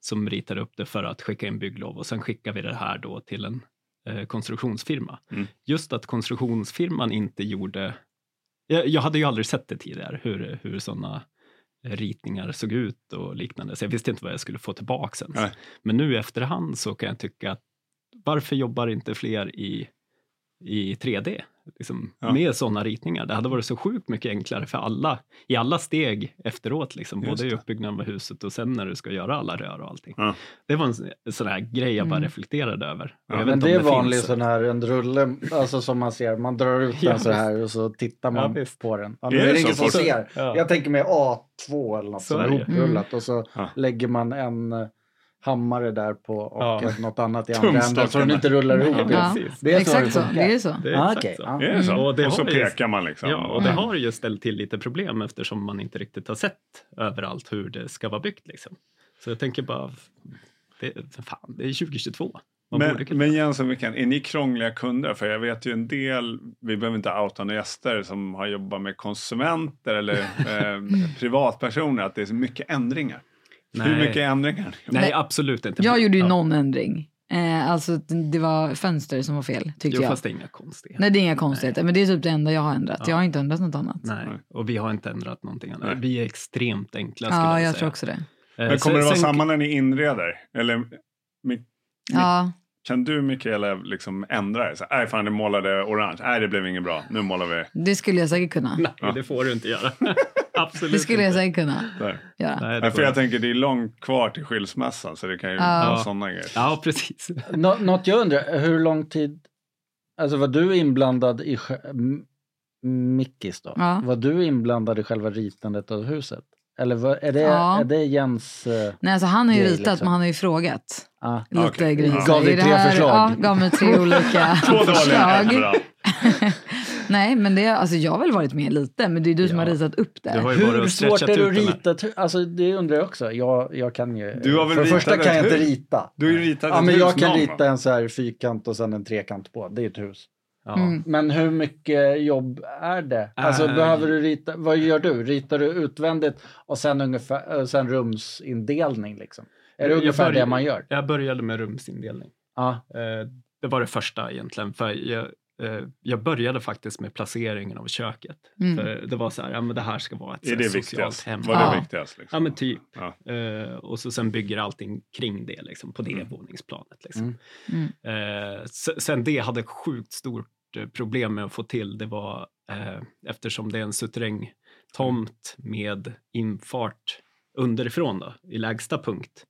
S3: som ritade upp det för att skicka in bygglov och sen skickade vi det här då till en eh, konstruktionsfirma.
S5: Mm.
S3: Just att konstruktionsfirman inte gjorde... Jag, jag hade ju aldrig sett det tidigare, hur, hur sådana ritningar såg ut och liknande, så jag visste inte vad jag skulle få tillbaka ens.
S5: Nej.
S3: Men nu i efterhand så kan jag tycka att varför jobbar inte fler i, i 3D? Liksom,
S5: Ja.
S3: Med sådana ritningar. Det hade varit så sjukt mycket enklare för alla i alla steg efteråt, liksom,
S5: Just
S3: både i
S5: det.
S3: uppbyggnaden av huset och sen när du ska göra alla rör och allting.
S5: Ja.
S3: Det var en sån- sån här grej jag bara
S2: Mm.
S3: reflekterade över.
S5: Ja,
S3: Och jag vet
S1: Men
S3: inte
S1: det är
S3: om
S1: vanlig
S3: finns-
S1: sån här en rulle, alltså som man ser, man drar ut
S3: Ja,
S1: den så här och så tittar
S3: Ja,
S1: man
S3: visst.
S1: på den. Ja,
S5: Det
S1: nu
S5: är
S1: är det
S5: så
S1: ingen som
S5: folk-
S1: ser.
S3: Ja.
S1: Jag tänker mig A2 eller något
S3: Så
S1: som
S3: är
S1: är
S3: det. Mm.
S1: hoprullat och så
S5: Ja.
S1: lägger man en eh, hammare där på och
S3: Ja.
S1: ett- något annat i andra änden så den
S5: Tumstocken.
S1: inte rullar ihop.
S2: Ja.
S3: precis.
S1: Det är så
S2: Exakt så.
S1: funkar.
S2: Det är så.
S3: Det är
S1: Ah,
S3: exakt
S1: okej.
S3: så.
S1: Ja.
S5: Är det så?
S3: Mm. Och
S5: Och,
S3: det
S5: så
S3: har ju-
S5: pekar man liksom.
S3: Ja, och det
S2: Mm.
S3: har ju ställt till lite problem eftersom man inte riktigt har sett överallt hur det ska vara byggt. Liksom. Så jag tänker bara, det, fan, det är 2022. Man borde
S5: Men,
S3: kunna...
S5: men Jens och Mikael, är ni krångliga kunder? För jag vet ju en del, vi behöver inte outa några gäster som har jobbat med
S3: [LAUGHS]
S5: konsumenter eller eh, privatpersoner, att det är så mycket ändringar. Hur mycket ändringar?
S3: Nej,
S2: Nej.
S3: absolut inte.
S2: Jag gjorde ju
S3: Ja.
S2: någon ändring. Eh, alltså att det var fönster som var fel tyckte
S3: Jo,
S2: jag.
S3: fast det är inga konstigheter.
S2: Nej det är inga konstigheter men det är typ det enda jag har ändrat.
S3: Ja.
S2: Jag har inte ändrat något annat.
S3: Nej.
S5: Nej.
S3: och vi har inte ändrat någonting annat.
S5: Nej.
S3: Vi är extremt enkla skulle
S2: ja
S3: jag,
S2: jag
S3: säga.
S2: tror också det.
S3: Eh,
S5: Men kommer
S3: sen-
S5: det vara
S3: sen-
S5: samma när ni inreder? Eller
S2: Ja,
S5: kan du Mikaela liksom ändra det? Så, här, Nej, fan det målade orange. Nej, det blev inget bra. Nu målar vi
S2: det skulle jag säkert kunna.
S3: Nej, det får du inte
S5: [LAUGHS]
S3: göra. absolut
S2: Det skulle jag
S3: inte.
S2: säkert kunna
S5: där.
S2: göra.
S3: Nej, det
S5: Nej,
S3: får
S5: för
S3: du
S5: jag
S3: inte.
S5: tänker det är långt kvar till skilsmässan så det kan ju
S2: Ja.
S5: vara sådana grejer.
S3: Ja, precis.
S1: Nå- något jag undrar, hur lång tid, alltså var du inblandad i, sj- M- Mickis då,
S2: Ja.
S1: var du inblandad i själva ritandet av huset? Eller var, är, det,
S2: Ja.
S1: är det Jens... eh,
S2: Nej alltså han har ju
S1: Grej,
S2: ritat
S1: liksom.
S2: men han har ju frågat.
S1: ah.
S2: Lite
S5: Okej.
S2: grejer.
S5: Ja.
S2: Så
S1: Gav dig
S2: i det
S1: tre
S2: här-
S1: förslag.
S2: Ja, gav mig tre
S3: [LAUGHS]
S2: olika
S5: Två dåliga, ett
S2: förslag.
S5: bra.
S2: Nej men det, alltså jag har väl varit med lite men det är du som
S3: Ja.
S2: har ritat upp
S3: Du
S2: det.
S3: har ju varit
S1: Hur
S3: och
S1: svårt
S3: stretchat
S1: är det att
S3: ut den här.
S1: rita? ett hu- Alltså det undrar jag också. Jag, jag kan ju...
S5: Du har väl
S1: för det
S5: ritat
S1: första
S5: ett
S1: kan jag inte
S5: hus?
S1: rita.
S5: Du har ju ritat
S1: Ja,
S5: ett
S1: men
S5: hus
S1: jag kan
S5: någon
S1: rita en så här fyrkant och sen en trekant på. Det är ett hus.
S3: Ja.
S2: Mm.
S1: Men hur mycket jobb är det? Alltså
S5: Ah.
S3: Äh.
S1: behöver du rita? Vad gör du? Ritar du utvändigt och sen, ungefär, och sen rumsindelning liksom? Är det
S3: Jag
S1: ungefär
S3: börjar-
S1: det man gör?
S3: Jag började med rumsindelning.
S1: Ja.
S3: Eh, Det var det första egentligen. För jag, eh, jag började faktiskt med placeringen av köket.
S2: Mm.
S3: För det var så här, ja, men det här ska vara ett så
S5: Är
S3: här,
S5: det
S3: socialt
S5: viktigast?
S3: hem.
S5: Var
S2: Ja.
S5: det viktigast? Liksom?
S3: Ja, men typ.
S5: Ja.
S3: Eh, och så sen bygger allting kring det, liksom, på det
S5: Mm.
S3: våningsplanet. Liksom.
S2: Mm.
S3: Eh, se- sen det hade sjukt stort eh, problem med att få till, det var eh, eftersom det är en suterrängtomt med infart underifrån då, i lägsta punkt.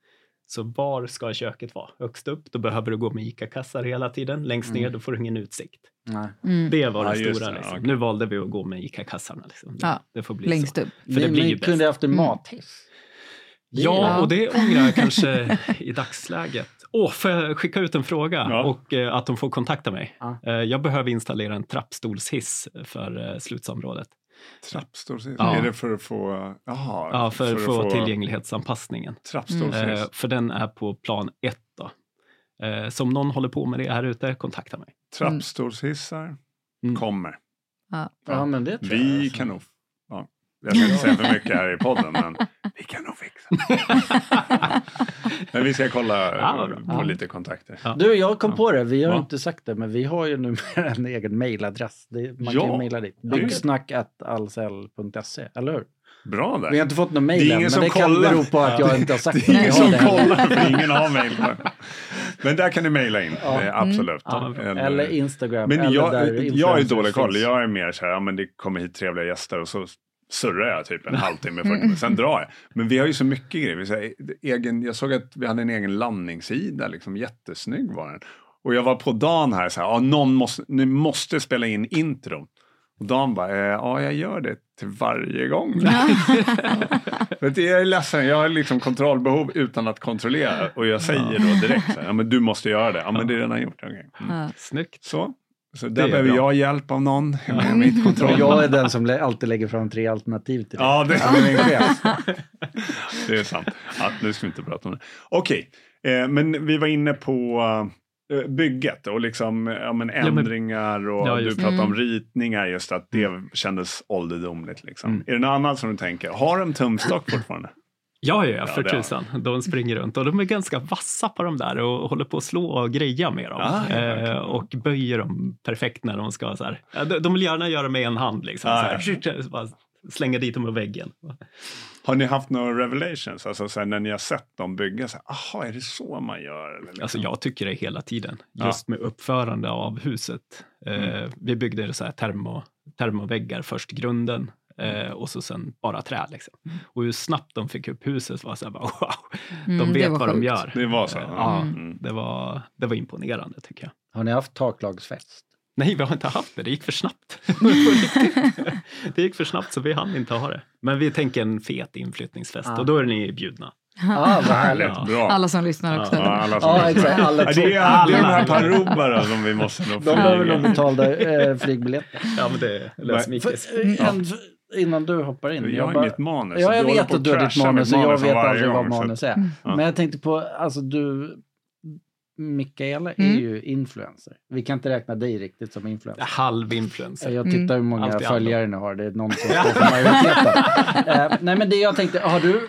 S3: Så var ska köket vara? Högst upp, då behöver du gå med ICA-kassar hela tiden. Längst ner,
S1: Mm.
S3: då får du ingen utsikt.
S1: Nej.
S2: Mm.
S3: Det var
S5: Ja,
S3: det
S5: just
S3: stora.
S5: det, ja,
S3: liksom.
S5: okej.
S3: Nu valde vi att gå med ICA-kassarna. Liksom. Det,
S2: Ja,
S3: det får bli så.
S2: Längst upp.
S3: För det
S1: ni
S3: blir
S1: ni
S3: ju bäst.
S1: kunde haft en
S2: Mm.
S1: mathiss. Det-
S3: Ja,
S2: Ja.
S3: och det ångrar jag kanske i dagsläget. Åh, får jag skicka ut en fråga
S5: Ja.
S3: och eh, att de får kontakta mig?
S1: Ja.
S3: Eh, jag behöver installera en trappstolshiss för eh, slutsområdet.
S5: Trappstolshiss?
S3: Ja.
S5: Är det för att få... Jaha,
S3: Ja, för, att få tillgänglighetsanpassningen.
S5: Trappstolshiss.
S3: Eh, för den är på plan ett. Då. Eh, så om någon håller på med det här ute, kontakta mig.
S5: Trappstolshissar
S3: Mm.
S5: kommer.
S1: Ja, men det tror jag. alltså.
S5: Vi kan nog... Ja. Jag ska inte säga för mycket här i podden, men vi kan nog
S3: [LAUGHS]
S5: fixa det. Men vi ska kolla eh,
S3: Ja, vad bra.
S5: på
S3: Ja.
S5: lite kontakter.
S3: Ja.
S1: Du, jag kom på det. Vi har
S5: Ja.
S1: inte sagt det, men vi har ju numera [LAUGHS] en egen mejladress. Det- Man kan
S5: Ja.
S1: ju mejla dit.
S5: det är ju-
S1: Byggsnack.allsl.se, eller hur?
S5: Bra
S1: Vi har
S5: där.
S1: inte fått någon
S5: Det är
S1: mejl än,
S5: ingen
S1: men
S5: som
S1: det kan
S5: kollar.
S1: bero på att jag inte har sagt
S5: Det är
S1: att
S5: ingen
S1: jag
S5: som
S1: har det.
S5: kollar, för ingen har mejl.
S3: [LAUGHS]
S5: Men där kan ni mejla in,
S1: Ja.
S5: eh, absolut.
S3: Mm. Ja, vad bra.
S1: Eller Instagram.
S5: Men
S1: eller
S5: jag,
S1: där
S5: jag är
S1: influencers
S5: dålig koll.
S1: finns.
S5: Jag är mer så här, ja, men det kommer hit trevliga gäster och så surrar jag
S1: [LAUGHS]
S5: typ en halvtimme, 40 minuter, sen drar jag. Men vi har ju så mycket grejer. Vi säger, egen, jag såg att vi hade en egen landningssida, liksom, jättesnygg var den. Och jag var på Dan här, så här, ja, någon måste, ni måste spela in intro. Och Dan bara, eh, ja jag gör det till varje gång. [LAUGHS] Vet du, jag är ledsen, jag har liksom kontrollbehov utan att kontrollera. Och jag säger då direkt, så här, ja men du måste göra det. Ja men det är redan gjort. Okay. Mm.
S2: Ja.
S3: Snyggt.
S5: Så. Så
S3: är
S5: där behöver
S3: bra.
S5: jag hjälp av någon med mitt kontroll.
S1: Och jag är den som lä- alltid lägger fram tre alternativ till dig.
S5: Ja, det är min chef. [LAUGHS] Det är sant. Ja, nu ska vi inte prata om det. Okej, eh, men vi var inne på eh, bygget och liksom, eh, ja, men
S3: men-
S5: ändringar och
S3: Ja,
S5: du
S3: just det.
S5: pratade om ritningar, just att det kändes ålderdomligt. Liksom. Är det något annat som du tänker? Har de [LAUGHS] tumstock fortfarande?
S3: Ja, ja, ja, för
S5: det har
S3: tusan. De springer runt och de är ganska vassa på de där och håller på att slå och greja med dem.
S5: Ah, ja,
S3: Eh,
S5: okej.
S3: och böjer dem perfekt när de ska så här. Ja, de- De vill gärna göra med en hand liksom.
S5: Ah,
S3: så här. Så [LAUGHS] Bara slänga dit dem i väggen.
S5: Har ni haft några revelations? Alltså så här, när ni har sett dem bygga, så här, aha, är det så man gör? Eller liksom.
S3: Alltså jag tycker det hela tiden,
S5: Ja. Mm.
S3: just med uppförande av huset. Eh, vi byggde så här termo, termoväggar först, grunden, eh,
S5: Mm.
S3: och så sen bara trä. Liksom. Och hur snabbt de fick upp huset var så här, bara, [LAUGHS] wow, de
S2: Mm, det
S3: vet
S2: var
S3: vad de
S2: sjukt.
S3: gör.
S5: Det var så?
S3: Eh,
S5: Ja.
S3: ja.
S5: Mm.
S3: Det var, det var imponerande tycker jag.
S1: Har ni haft taklagsfest?
S3: Nej, vi har inte haft det. Det gick för [LAUGHS] snabbt. På riktigt. det gick för snabbt så vi hann inte ha det. Men vi tänker en fet inflyttningsfest
S1: Ah.
S3: och då är ni bjudna.
S1: Ja, Ah, vad härligt.
S5: Härligt, bra.
S2: Alla som lyssnar också.
S5: Ja, alla som
S1: Ja,
S5: lyssnar.
S1: exakt. Alla
S5: Ja, det, är, det är de här parobbarna som vi måste nog
S1: De behöver nog
S5: flyga.
S1: betalda eh, flygbiljetter.
S3: Ja, men det löser
S5: Nej,
S3: Mikis.
S1: För, eh, en, innan du hoppar in.
S5: Jag har
S1: bara-
S5: inget manus.
S1: Ja,
S5: så
S1: jag
S5: håller
S1: vet
S5: på
S1: att du har ditt
S5: crasha
S1: manus
S5: mitt
S1: och jag
S5: manus
S1: vet
S5: varje
S1: aldrig vad
S5: gång, så att- Mm.
S1: manus är. Men jag tänkte på, alltså du, Mikaela är
S2: Mm.
S1: ju influencer. Vi kan inte räkna dig riktigt som influencer.
S3: Halv influencer.
S2: Mm.
S1: Jag tittar hur många
S3: Alltid
S1: följare ni har, det är någon
S5: [LAUGHS]
S1: som står för majoriteten. eh, nej men det jag tänkte, har du,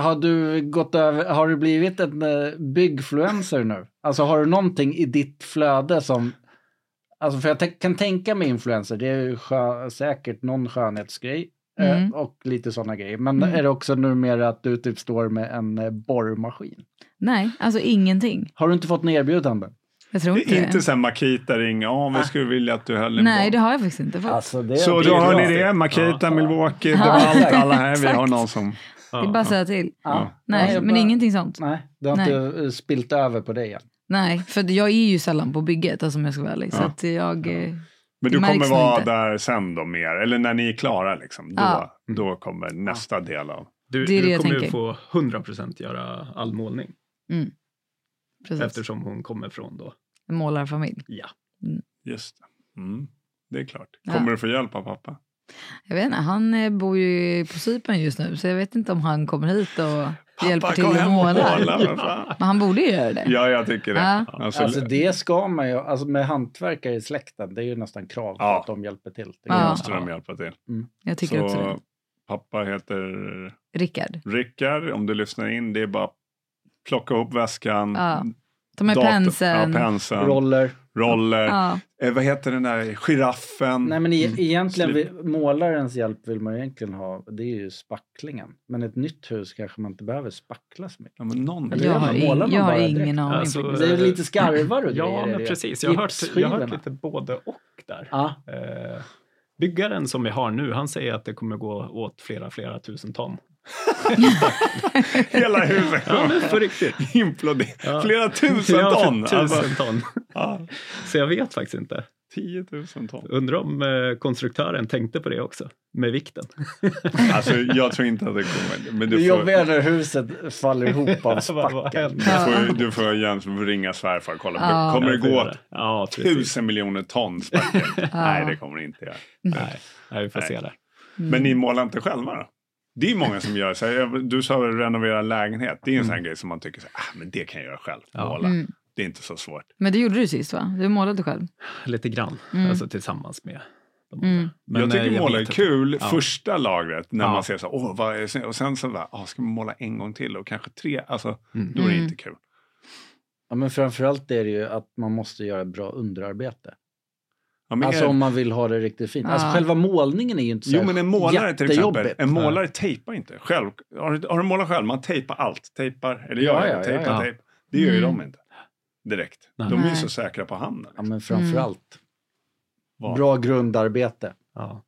S1: har du, gått över, har du blivit en eh, byggfluencer nu? Alltså har du någonting i ditt flöde som Alltså för jag tän- kan tänka mig influencer, det är ju skö- säkert någon skönhetsgrej eh,
S2: Mm.
S1: och lite sådana grejer. Men
S2: Mm.
S1: är det också numera att du typ står med en eh, borrmaskin?
S2: Nej, alltså ingenting.
S1: Har du inte fått några erbjudanden?
S2: Jag tror inte,
S5: Inte
S2: det.
S5: sen Makita ringa, ja
S1: Ah.
S5: vi skulle vilja att du höll en
S2: Nej,
S5: boll."
S2: det har jag faktiskt inte fått.
S1: Alltså, det
S5: Så
S1: det
S5: då
S1: är
S5: hör
S1: bra.
S5: ni det, Makita, Milwaukee, det var
S2: Ja,
S5: allt,
S1: exakt.
S5: alla här. Vi har
S2: Exakt.
S5: någon som...
S2: det är bara att säga till.
S1: Ja.
S2: Nej,
S1: jag
S2: men
S1: bara-
S2: ingenting sånt.
S1: Nej, det har inte eh, spilt över på dig än.
S2: Nej, för jag är ju sällan på bygget alltså, om jag ska vara ärlig. Så att jag... eh,
S5: Men du
S2: märks
S5: kommer
S2: nog
S5: vara
S2: inte.
S5: där sen då mer, eller när ni är klara liksom. Då,
S2: Ja.
S5: då kommer nästa del av...
S3: Du,
S2: Det är det
S3: du
S2: jag
S3: kommer ju
S2: tänker.
S3: få 100 procent göra all målning
S2: Precis.
S3: eftersom hon kommer från då.
S2: En målarfamilj.
S3: Ja.
S5: Just det. Mm. Det är klart.
S2: Ja.
S5: Kommer du få hjälp av pappa?
S2: Jag vet inte, han eh, bor ju på Cypern just nu så jag vet inte om han kommer hit och hjälper till att måla.
S1: [LAUGHS]
S5: vad fan.
S2: Men han borde ju göra det.
S5: Ja, jag tycker det.
S2: Ja.
S5: Alltså,
S1: Alltså det ska man ju, alltså med hantverkare i släkten, det är ju nästan krav på
S5: Ja.
S1: att de hjälper till. Det är
S2: Ja.
S1: ju-
S5: måste de hjälpa till.
S2: Jag tycker också det.
S5: Pappa heter
S2: Rickard,
S5: Rickard, om du lyssnar in, det är bara plocka ihop väskan.
S2: Ja, ta med
S5: dator-
S2: penseln.
S5: Ja, Mm. penseln.
S1: Roller.
S5: roller.
S2: Ja,
S5: Eh, vad heter den där giraffen?
S1: Nej men e- egentligen,
S5: Slut.
S1: vi, målarens hjälp vill man egentligen ha, det är ju spacklingen. Men ett nytt hus kanske man inte behöver spackla så mycket.
S5: Ja, men någon.
S1: Eller
S2: jag
S1: gör
S2: har,
S1: man? Målar
S2: in,
S1: man
S2: jag har
S1: bara
S2: ingen
S1: direkt?
S2: aning.
S3: Alltså,
S2: faktiskt.
S1: Det är lite skarvar och
S3: Ja,
S1: grejer i
S3: men
S1: det.
S3: precis. Jag har, hört, jag har hört
S1: Gipsskivorna.
S3: lite både och där.
S1: Ja,
S3: Eh, byggaren som vi har nu, han säger att det kommer gå åt flera, flera tusen ton.
S5: [LAUGHS] Hela huset
S3: [LAUGHS] Ja, men på riktigt.
S5: imploderar.
S3: Ja.
S5: Flera tusen
S3: Ja, för
S5: ton!
S3: Tusen
S5: Alltså,
S3: ton.
S5: ja,
S3: Så jag vet faktiskt inte.
S5: 10 000
S3: [LAUGHS]
S5: ton.
S3: Undrar om eh, konstruktören tänkte på det också, med vikten.
S5: Alltså, jag tror inte att det kommer. Men
S1: det
S5: du får,
S1: jobbiga är när huset faller ihop
S5: [LAUGHS]
S1: av
S3: Vad- vad
S1: spackel.
S3: händer?
S5: du får, du får Jens ringa svärfar och kolla.
S2: Ja.
S5: Kommer det
S3: Jag får
S5: gå
S3: göra
S5: åt
S3: Ja, precis.
S5: tusen miljoner ton spackel? Nej, det kommer det inte göra.
S3: Nej, nej, vi får
S5: Nej.
S3: se där.
S5: Men ni målar inte själva då? Det är många som gör så här, jag- Du sa väl renovera lägenhet. Det är en sån här grej som man tycker så här, ah, men det kan jag göra själv.
S3: Ja.
S5: Måla.
S2: Mm.
S5: Det är inte så svårt.
S2: Men det gjorde du sist va? Du målade själv?
S3: Lite grann,
S2: Mm.
S3: alltså tillsammans med de andra.
S2: Mm.
S3: Men,
S5: jag
S3: eh,
S5: tycker måla är
S3: vet att-
S5: kul,
S3: Ja.
S5: första lagret, när
S3: Ja.
S5: man ser så här, åh, vad är det? och sen så bara, ah, ska man måla en gång till och kanske tre, alltså då är det
S2: Mm.
S5: inte kul.
S1: Ja, men framförallt är det ju att man måste göra bra underarbete.
S5: Ja, men
S1: Alltså
S5: är,
S1: om man vill ha det riktigt fint. Alltså
S2: Ja.
S1: själva målningen är ju inte så
S5: jo,
S1: här
S5: men en målare till exempel,
S1: jättejobbigt.
S5: en målare tejpar inte själv. Har, du- har du målat själv? Man tejpar allt, tejpar, eller gör
S1: Ja,
S5: ja,
S1: ja, ja,
S5: tejpar,
S3: ja.
S5: tejp. Det gör ju
S2: Mm.
S5: de inte direkt.
S3: Nej.
S5: De är ju
S2: Nej.
S5: så säkra
S2: liksom. Mm.
S5: på handen.
S1: Ja, men framförallt
S5: Vad?
S1: bra grundarbete.
S3: Ja.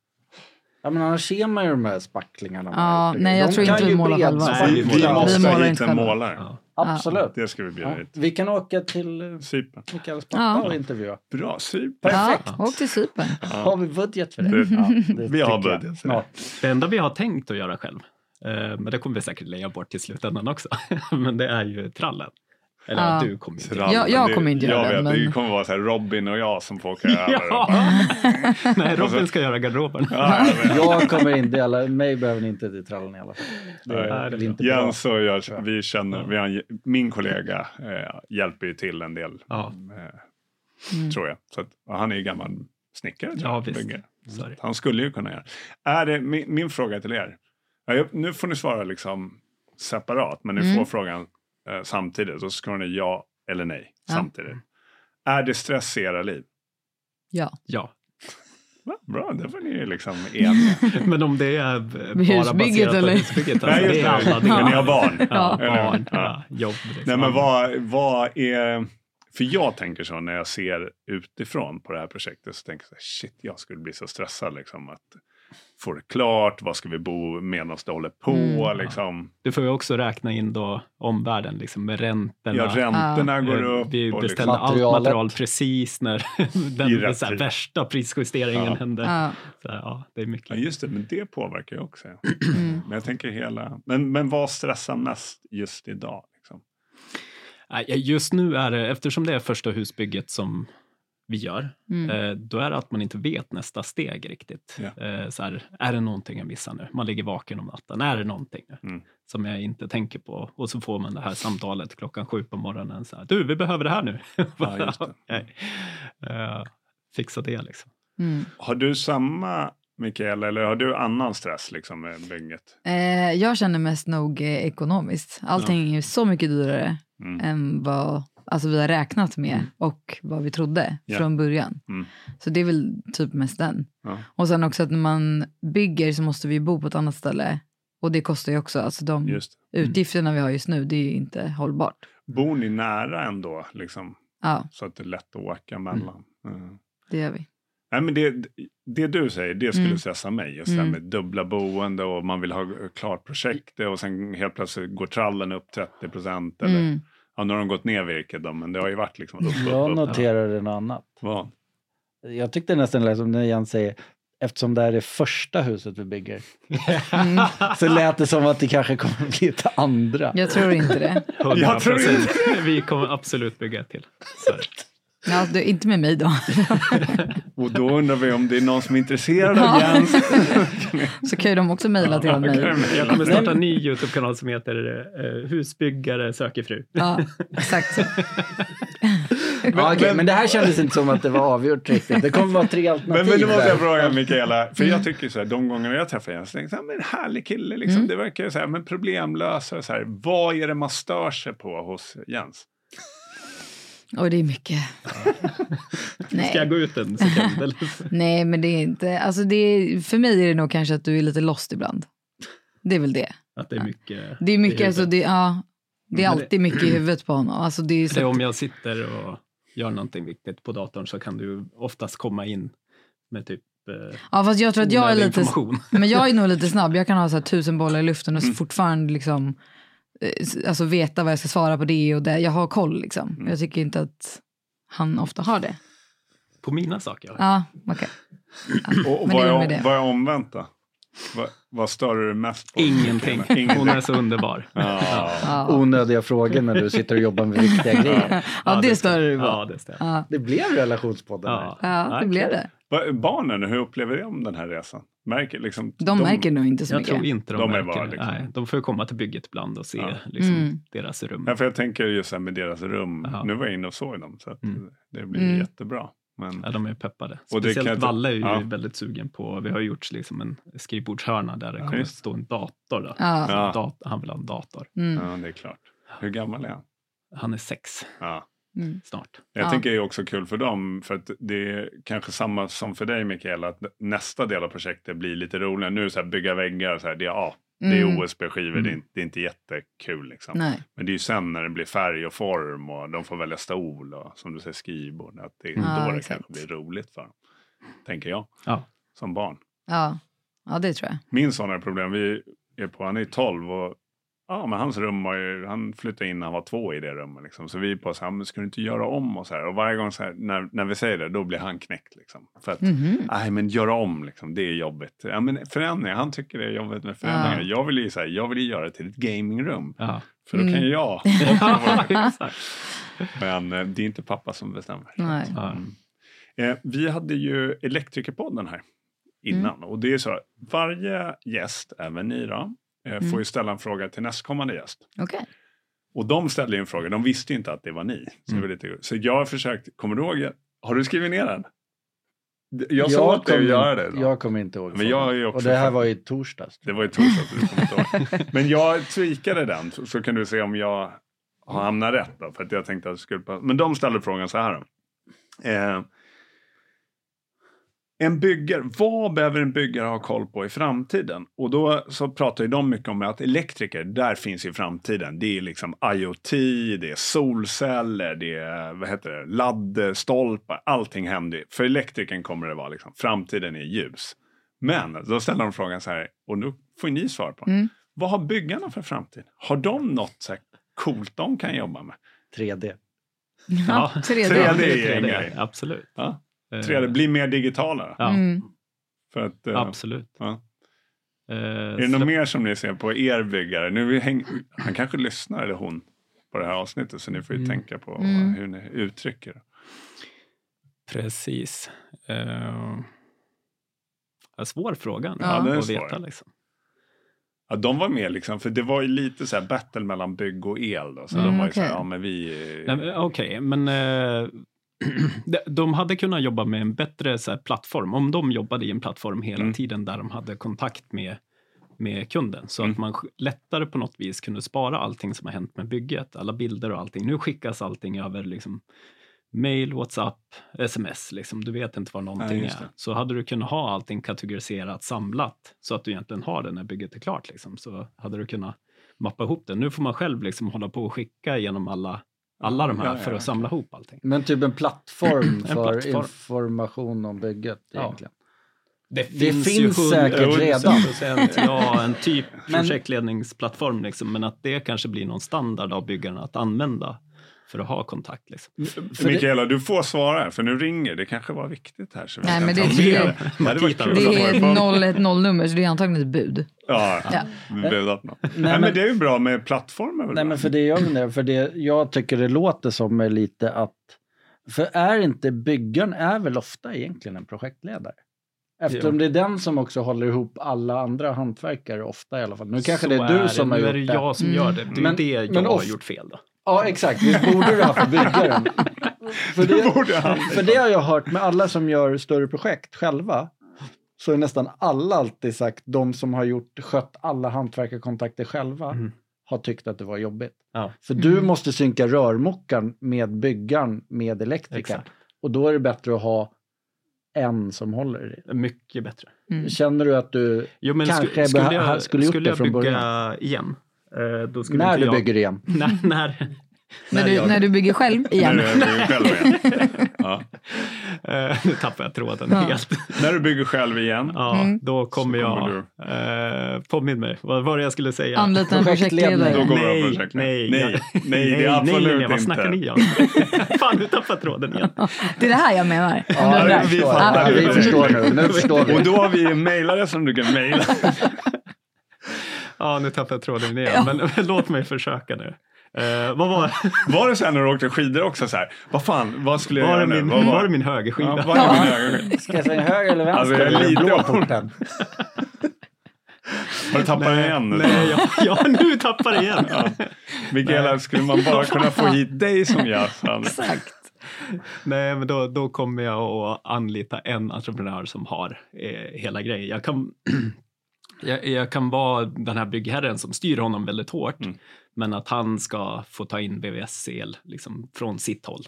S1: Ja, men annars ser man ju de här spacklingarna. man
S2: Ja,
S1: har gjort.
S2: nej, jag
S1: de
S2: tror
S1: kan
S2: inte vi
S1: ju
S2: målar själva.
S1: bredspackla.
S5: Nej, vi
S2: målar.
S5: måste
S2: Vi målar
S5: ha hit
S2: inte
S5: en
S2: själva.
S5: målare.
S3: Ja.
S1: Absolut.
S5: Det ska vi bjuda
S1: Ja.
S5: hit.
S1: Vi kan åka till eh,
S5: Cypern.
S1: Mikaels pappa
S2: Ja.
S1: och intervjua.
S5: Bra, Cypern.
S2: Ja,
S1: Perfekt.
S2: åk till Cypern.
S1: Har vi budget för det?
S5: Du,
S2: [LAUGHS]
S1: det
S5: vi har
S1: tycker jag.
S5: budget för det.
S1: Ja.
S3: Det enda vi har tänkt att göra själv, eh, men det kommer vi säkert lägga bort till slutändan också, [LAUGHS] men det är ju trallen. Eller
S2: Ja.
S3: ja. du kommer ju till.
S5: Trallen,
S2: Jag- jag
S5: det-
S2: kommer inte göra
S5: jag
S2: den,
S5: vet,
S2: men-
S5: Det kommer vara så här Robin och jag som får åka över.
S3: [LAUGHS] Ja! Nej, Robin ska göra garderoben.
S5: Ja, jag vet.
S1: Jag kommer inte, eller mig behöver ni inte till trallen i alla fall. Det
S3: Nej, det
S1: är
S3: är
S1: väl
S3: bra.
S1: inte bra.
S5: Jens och jag, vi känner, vi har, en- min kollega eh, hjälper ju till en del,
S3: Ja,
S5: eh,
S2: Mm.
S5: tror jag. Så att, och han är ju gammal snickare. tror
S3: ja
S5: jag,
S3: visst.
S5: bägge.
S3: Sorry.
S5: Han skulle ju kunna göra. Är det, min, min fråga till er. Ja, jag- Nu får ni svara liksom separat, men ni
S2: Mm.
S5: får frågan eh, samtidigt. Och så ska ni ja eller nej
S2: Ja.
S5: samtidigt. Är det stress i era liv?
S2: Ja.
S3: Ja,
S5: Va? Bra, det var ni ju liksom eniga.
S3: men om det är eh, bara
S2: husbygget,
S3: baserat på
S2: eller?
S3: husbygget,
S5: Nej,
S3: alltså,
S5: just
S3: det är alla
S5: det.
S3: delar.
S5: Ni har barn.
S3: Ja,
S5: Eller hur?
S3: barn,
S5: Ja.
S3: ja, jobb. Liksom.
S5: Nej, men vad, vad är... För jag tänker så när jag ser utifrån på det här projektet så tänker jag så här, shit, jag skulle bli så stressad liksom att få det klart, var ska vi bo medan det håller på
S2: Mm.
S5: liksom.
S3: Du får ju också räkna in då omvärlden liksom, med räntorna.
S5: Ja, räntorna går
S3: Eh,
S5: upp.
S3: Vi
S5: och
S3: beställde
S5: liksom,
S1: Materialet.
S3: allt material precis när [LAUGHS]
S5: I
S3: den
S5: rätt
S3: så här,
S5: tid.
S3: värsta prisjusteringen
S5: Ja.
S3: hände.
S2: Ja.
S3: Så, ja, det är mycket.
S5: ja, just det, men det påverkar ju också.
S2: Mm.
S5: Men jag tänker hela... Men, men vad stressar mest just idag? Liksom?
S3: Nej, Just nu är det, eftersom det är första husbygget som vi gör,
S2: Mm.
S3: eh, då är det att man inte vet nästa steg riktigt.
S5: Ja.
S3: Eh, Så här, är det någonting jag missar nu? Man ligger vaken om natten. Är det någonting nu
S5: Mm.
S3: som jag inte tänker på? Och så får man det här samtalet klockan sju på morgonen. Så här, du, vi behöver det här nu.
S5: Ja, just det.
S3: [LAUGHS]
S5: Mm.
S3: Okej. Eh, Fixa det liksom.
S2: Mm.
S5: Har du samma, Mikael, eller har du annan stress liksom, med bygget?
S2: Eh, jag känner mest nog eh, ekonomiskt. Allting är ju så mycket dyrare
S5: Mm.
S2: än vad alltså, vi har räknat med och vad vi trodde
S5: Ja.
S2: från början.
S5: Mm.
S2: Så det är väl typ mest den.
S5: Ja.
S2: Och sen också att när man bygger så måste vi bo på ett annat ställe. Och det kostar ju också. Alltså de
S5: Just.
S2: utgifterna vi har just nu, det är ju inte hållbart.
S5: Bor ni nära ändå, liksom,
S2: Ja,
S5: så att det är lätt att åka mellan? Mm.
S2: det gör vi.
S5: Nej, men det, det du säger, det skulle
S2: Mm.
S5: stressa mig. Just det här
S2: Mm.
S5: med dubbla boende och man vill ha klart projektet och sen helt plötsligt går trallen upp 30 procent.
S2: Mm.
S5: Ja, nu har de gått ner virket då, men det har ju varit liksom upp,
S1: Jag
S5: upp, upp.
S1: noterade något annat.
S5: Vad?
S1: Jag tyckte nästan lät som när Jens säger Eftersom det här är första huset vi bygger
S2: Mm.
S1: [LAUGHS] så lät det som att det kanske kommer bli ett andra.
S2: Jag tror inte det.
S3: 100%.
S5: [LAUGHS] Jag tror
S3: [LAUGHS] Vi kommer absolut bygga ett till. Så är det.
S2: Ja, du, inte med mig då.
S5: Och då undrar vi om det är någon som är intresserad av
S2: Ja.
S5: [LAUGHS] Jens.
S2: Så kan ju de också mejla till mig.
S3: Jag kommer starta en ny Youtube-kanal som heter eh, Husbyggare söker fru.
S2: Ja, exakt.
S1: Ja, okej, men det här kändes inte som att det var avgjort riktigt. Det kommer vara tre
S5: Men,
S1: alternativ.
S5: men nu måste
S1: där.
S5: jag fråga
S2: [LAUGHS]
S5: Mikaela, för jag tycker så här, de gånger jag träffar Jens, liksom, "Ja, men härlig kille, liksom,
S2: Mm.
S5: det verkar ju så här, men problemlösare, så här, vad är det man stör sig på hos Jens?
S2: Och det är mycket.
S3: Ska jag
S2: Nej.
S3: gå ut en sekund? eller? [LAUGHS]
S2: Nej, men det är inte... Alltså det är, för mig är det nog kanske att du är lite lost ibland. Det är väl det.
S3: Att det är mycket.
S2: Det är mycket,
S3: i
S2: alltså det, ja, det är
S3: Men det-
S2: alltid mycket i huvudet på honom. Alltså det är
S3: huvudet. Så
S2: så,
S3: om jag sitter och gör någonting viktigt på datorn så kan du oftast komma in med typ eh,
S2: ja, fast jag tror att jag är
S3: onödig
S2: lite...
S3: information.
S2: Men jag är nog lite snabb. Jag kan ha så här tusen bollar i luften och så fortfarande liksom, eh, s- alltså veta vad jag ska svara på det och det. Jag har koll liksom. Jag tycker inte att han ofta har det.
S3: På mina saker?
S2: Ja, okej.
S5: Och, och
S2: Men
S5: vad,
S2: det är
S5: är,
S2: väl med det.
S5: vad är omvänt då? Vad, vad stör du dig mest på? [LAUGHS]
S3: Ingenting. Hon är så underbar.
S5: Ja.
S2: Ja.
S1: Onödiga frågor när du sitter och jobbar med viktiga grejer.
S2: Ja, det stör du på.
S3: Ja, det stör.
S2: Ja.
S1: Det blev relationspodden. här.
S3: Ja.
S2: ja, det
S3: Nej,
S2: blev det.
S5: Va- Barnen, hur upplever de den här resan? Märker, liksom,
S2: De märker nog inte så
S3: Jag
S2: mycket.
S3: tror inte de,
S5: De är
S3: märker
S5: bara
S3: det.
S5: liksom-
S3: Nej, de får ju komma till bygget ibland och se
S5: Ja.
S3: liksom,
S2: Mm.
S3: deras rum.
S5: Ja, för jag tänker just här med deras rum.
S3: Ja.
S5: Nu var jag inne och såg dem, så att
S3: Mm.
S5: det blir
S2: Mm.
S5: jättebra. Men,
S3: Ja, de är peppade.
S5: Och det
S3: Speciellt
S5: kan jag inte-
S3: Valle är ju
S5: ja.
S3: väldigt sugen på, vi har gjort liksom en skrivbordshörna där det
S5: Ja,
S3: kommer
S5: just.
S3: stå en dator. Då.
S2: Ja.
S3: Så
S5: Ja.
S3: dat- han vill ha en dator.
S2: Mm.
S5: ja, det är klart. Hur gammal är han?
S3: Han är sex
S5: Ja.
S2: Mm.
S3: snart.
S5: Jag
S2: Ja.
S5: tänker det är också kul för dem, för att det är kanske samma som för dig Mikael, att nästa del av projektet blir lite roligare. Nu är det så här bygga väggar, så här, det är, ja, det är
S2: Mm.
S5: OSB-skivor, det, är inte- det är inte jättekul liksom.
S2: Nej.
S5: Men det är ju sen när det blir färg och form och de får välja stol och som du säger skrivbord. Att det är
S2: Ja,
S5: då det
S2: exakt.
S5: kanske blir roligt för dem. Tänker jag.
S3: Ja.
S5: Som barn.
S2: Ja. Ja, det tror jag.
S5: Min son har problem. Vi är på, han är 12 och ja, men hans rum var ju, han flyttade in när han var två i det rummet. Liksom. Så vi är på så här, men ska du inte göra om och så här. Och varje gång så här, när, när vi säger det, då blir han knäckt. Liksom. För
S2: Mm.
S5: att, nej men göra om liksom, det är jobbigt. Ja, men förändringar, han tycker det är jobbigt med förändringar.
S2: Ja.
S5: Jag vill ju så här, jag vill ju göra det till ett gamingrum.
S3: Ja.
S5: För då kan
S2: Mm. [LAUGHS]
S5: ju jag.
S3: Exakt.
S5: men eh, det är inte pappa som bestämmer.
S2: Nej.
S3: Ja.
S5: Eh, vi hade ju Elektrikerpodden här innan. Och det är så att varje gäst, även ni då, eh, får ju ställa en fråga till nästkommande gäst.
S2: Okej.
S5: Och de ställde ju en fråga, de visste ju inte att det var ni. Så, det var lite, så jag har försökt, kommer du ihåg, har du skrivit ner den? D- Jag sa att du
S1: kommer-
S5: göra det. Då.
S1: Jag kommer inte ihåg.
S5: Men
S1: frågan.
S5: jag har ju också-
S1: och det här var i torsdags.
S5: Det var ju torsdags, du kommer inte ihåg. Men jag tweakade den, så, så kan du se om jag har hamnat rätt. Då, för att jag tänkte att jag skulle... pa- Men de ställde frågan så här. då. Eh, en byggare, vad behöver en byggare ha koll på i framtiden? Och då så pratar ju de mycket om att elektriker, där finns ju framtiden. Det är liksom IoT, det är solceller, det är vad heter det, laddstolpar, allting händer ju. För elektrikern kommer det vara liksom, framtiden är ljus. Men då ställer de frågan så här, och nu får ni svar på den.
S2: Mm.
S5: Vad har byggarna för framtid? Har de något så här coolt de kan jobba med?
S1: 3D.
S2: Ja,
S3: Ja.
S2: 3D.
S5: 3D.
S3: Det är en
S5: 3D.
S3: grej, Absolut.
S5: Ja.
S3: Eh,
S5: 3D, bli mer digitala.
S3: Ja,
S2: Mm.
S5: För att, eh,
S3: absolut.
S5: ja.
S3: Eh,
S5: Är det
S3: så-
S5: något mer som ni ser på er byggare? Nu vi häng... Han kanske lyssnar, eller hon, på det här avsnittet. Så ni får ju
S3: Mm.
S5: tänka på
S2: Mm.
S5: hur ni uttrycker det.
S3: Precis. Eh, en svår fråga
S2: Ja,
S5: den är
S3: att
S5: svår.
S3: veta. Liksom.
S5: Ja, de var med liksom, för det var ju lite så här battle mellan bygg och el. Då, så
S2: Mm,
S5: de var ju så här,
S2: okej.
S5: ja men vi...
S3: Nej, men, Okej, men eh, [CLEARS THROAT] de- de hade kunnat jobba med en bättre så här, plattform. Om de jobbade i en plattform hela
S5: Mm.
S3: tiden där de hade kontakt med, med kunden så
S5: Mm.
S3: att man sk- lättare på något vis kunde spara allting som har hänt med bygget, alla bilder och allting. Nu skickas allting över liksom, mail, WhatsApp, sms. Liksom. Du vet inte vad någonting
S5: Nej, just
S3: är.
S5: det.
S3: Så hade du kunnat ha allting kategoriserat, samlat, så att du egentligen har det när bygget är klart. Liksom. Så hade du kunnat mappa ihop det. Nu får man själv liksom hålla på och skicka genom alla, alla de här
S5: Ja, ja,
S3: för att
S5: okej.
S3: samla ihop allting.
S1: Men typ en
S5: [CLEARS THROAT]
S1: plattform för
S3: plattform.
S1: information om bygget
S3: Ja.
S1: egentligen.
S3: Det
S1: finns finns ju säkert
S5: hundra- redan.
S3: Ja, en typ
S1: Men-
S3: projektledningsplattform, liksom, men att det kanske blir någon standard av byggarna att använda för att ha kontakt. Liksom.
S1: För det,
S5: Mikaela, du får svara, för nu ringer det. kanske var viktigt här. Så vi
S2: Nej,
S5: kan
S2: men
S5: ta
S2: det-
S5: med
S2: det-
S5: Det hade varit
S3: det
S5: kul
S2: Det
S5: att få
S2: är
S5: det
S2: ett
S5: på-
S2: 010-nummer, så det är antagligen ett bud. Mm.
S5: Ja, Mm.
S2: Ja.
S5: vi budat något. Nej,
S1: men-
S5: men, det är ju bra med plattformar. väl
S1: nej,
S5: då?
S1: men för det jag undrar, för det jag tycker det låter som är lite att... För är inte byggaren är väl ofta egentligen en projektledare? Eftersom det är den som också håller ihop alla andra hantverkare ofta i alla fall. Nu kanske
S3: Så
S1: det är du
S3: är
S1: som
S3: nu
S1: har
S3: är det
S1: gjort det.
S3: jag som
S2: Mm.
S3: gör det. Det är
S1: Men-
S3: det jag
S1: men
S3: har
S1: ofta-
S3: gjort fel. Då.
S1: Ja, exakt. Visst borde det vara för byggaren? För
S5: Det
S1: det,
S5: borde han.
S1: för det har jag hört med alla som gör större projekt själva. Så är nästan alla alltid sagt, de som har gjort, skött alla hantverkarkontakter själva,
S3: Mm.
S1: har tyckt att det var jobbigt.
S3: Ja.
S1: För du
S2: Mm.
S1: måste synka rörmokaren med byggaren, med elektrikern.
S3: Exakt.
S1: Och då är det bättre att ha en som håller i det.
S3: Mycket bättre.
S2: Mm.
S1: Känner du att du,
S3: Jo, men
S1: Kanske
S3: sku-
S1: beha-
S3: skulle jag,
S1: skulle gjort det
S3: jag
S1: från
S3: bygga
S1: början.
S3: igen, eh, då skulle
S1: när
S3: inte
S1: du
S3: jag,
S1: bygger igen,
S3: [LAUGHS] när, när,
S2: När, du,
S1: jag-
S2: när du bygger själv igen.
S5: När du bygger själv igen. Ja.
S3: eh, [LAUGHS] nu tappar jag tråden
S2: Ja.
S3: helt.
S5: När du bygger själv igen.
S3: Ja,
S2: Mm.
S3: då kommer
S5: Så
S3: jag...
S5: kommer
S3: eh, påminn mig, vad var det jag skulle säga?
S2: Anlita en
S1: Projektledare.
S2: projektledare.
S5: Då går
S3: Nej,
S5: det bra projekt.
S3: nej,
S5: nej,
S3: ja.
S5: nej, det är absolut
S3: nej, nej, vad
S5: inte.
S3: snackar ni
S5: [LAUGHS]
S3: om? Fan, nu tappar jag tråden igen.
S2: Det är det här jag menar.
S1: Ja,
S2: Om den
S5: vi- vi
S2: där.
S5: fattar.
S2: Ja.
S1: Ja, vi förstår nu. Nu förstår
S5: Och
S1: vi.
S5: då har vi ju mejlare som du kan mejla.
S3: Ja, nu tappar jag tråden igen, men, men låt mig försöka nu. Eh, vad var,
S5: Var det så här när du åkte skidor också så här, vad fan, vad skulle jag
S3: var,
S5: göra
S3: det
S5: nu?
S3: min,
S5: Vad
S3: var det min högerskida?
S5: Ja, var det min högerskida?
S1: [LAUGHS] Ska jag svänga höger eller vänster?
S5: Alltså, jag är
S1: Eller
S5: lite
S1: blå
S5: om-
S1: porten?
S5: Har du tappat den igen? nu?
S3: Nej, jag, jag nu tappar det igen.
S5: Mikaela, skulle man bara kunna få hit dig som Jassan?
S2: Exakt.
S3: Nej, men då, då kommer jag att anlita en entreprenör som har eh, hela grejen. Jag kan, [CLEARS THROAT] jag, jag kan vara den här byggherren som styr honom väldigt hårt,
S5: Mm.
S3: men att han ska få ta in VVS-el liksom, från sitt håll.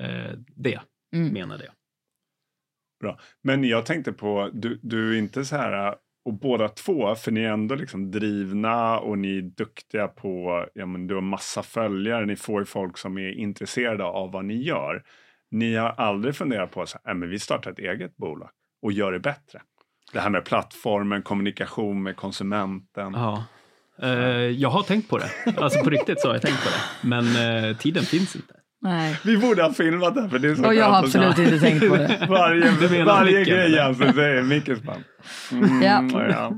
S3: Eh, det
S2: Mm.
S3: menade jag.
S5: Men jag tänkte på, du, du är inte så här, äh, och båda två, för ni är ändå liksom drivna och ni är duktiga på, ja men du har massa följare, ni får ju folk som är intresserade av vad ni "Äh, gör. Ni har aldrig funderat på så här, "Nej, men vi startar ett eget bolag och gör det bättre. Det här med plattformen, kommunikation med konsumenten.
S3: Ja. Eh, jag har tänkt på det. Alltså på riktigt så har jag tänkt på det. Men eh, tiden finns inte.
S2: Nej.
S5: Vi borde ha filmat det här för det är så
S2: Och jag har
S5: skönt att-
S2: absolut inte tänkt på det.
S3: Du
S5: Varje,
S3: menar
S5: varje
S3: micken,
S5: grej
S3: eller?
S5: alltså säger Mickes man. Mm,
S2: Ja.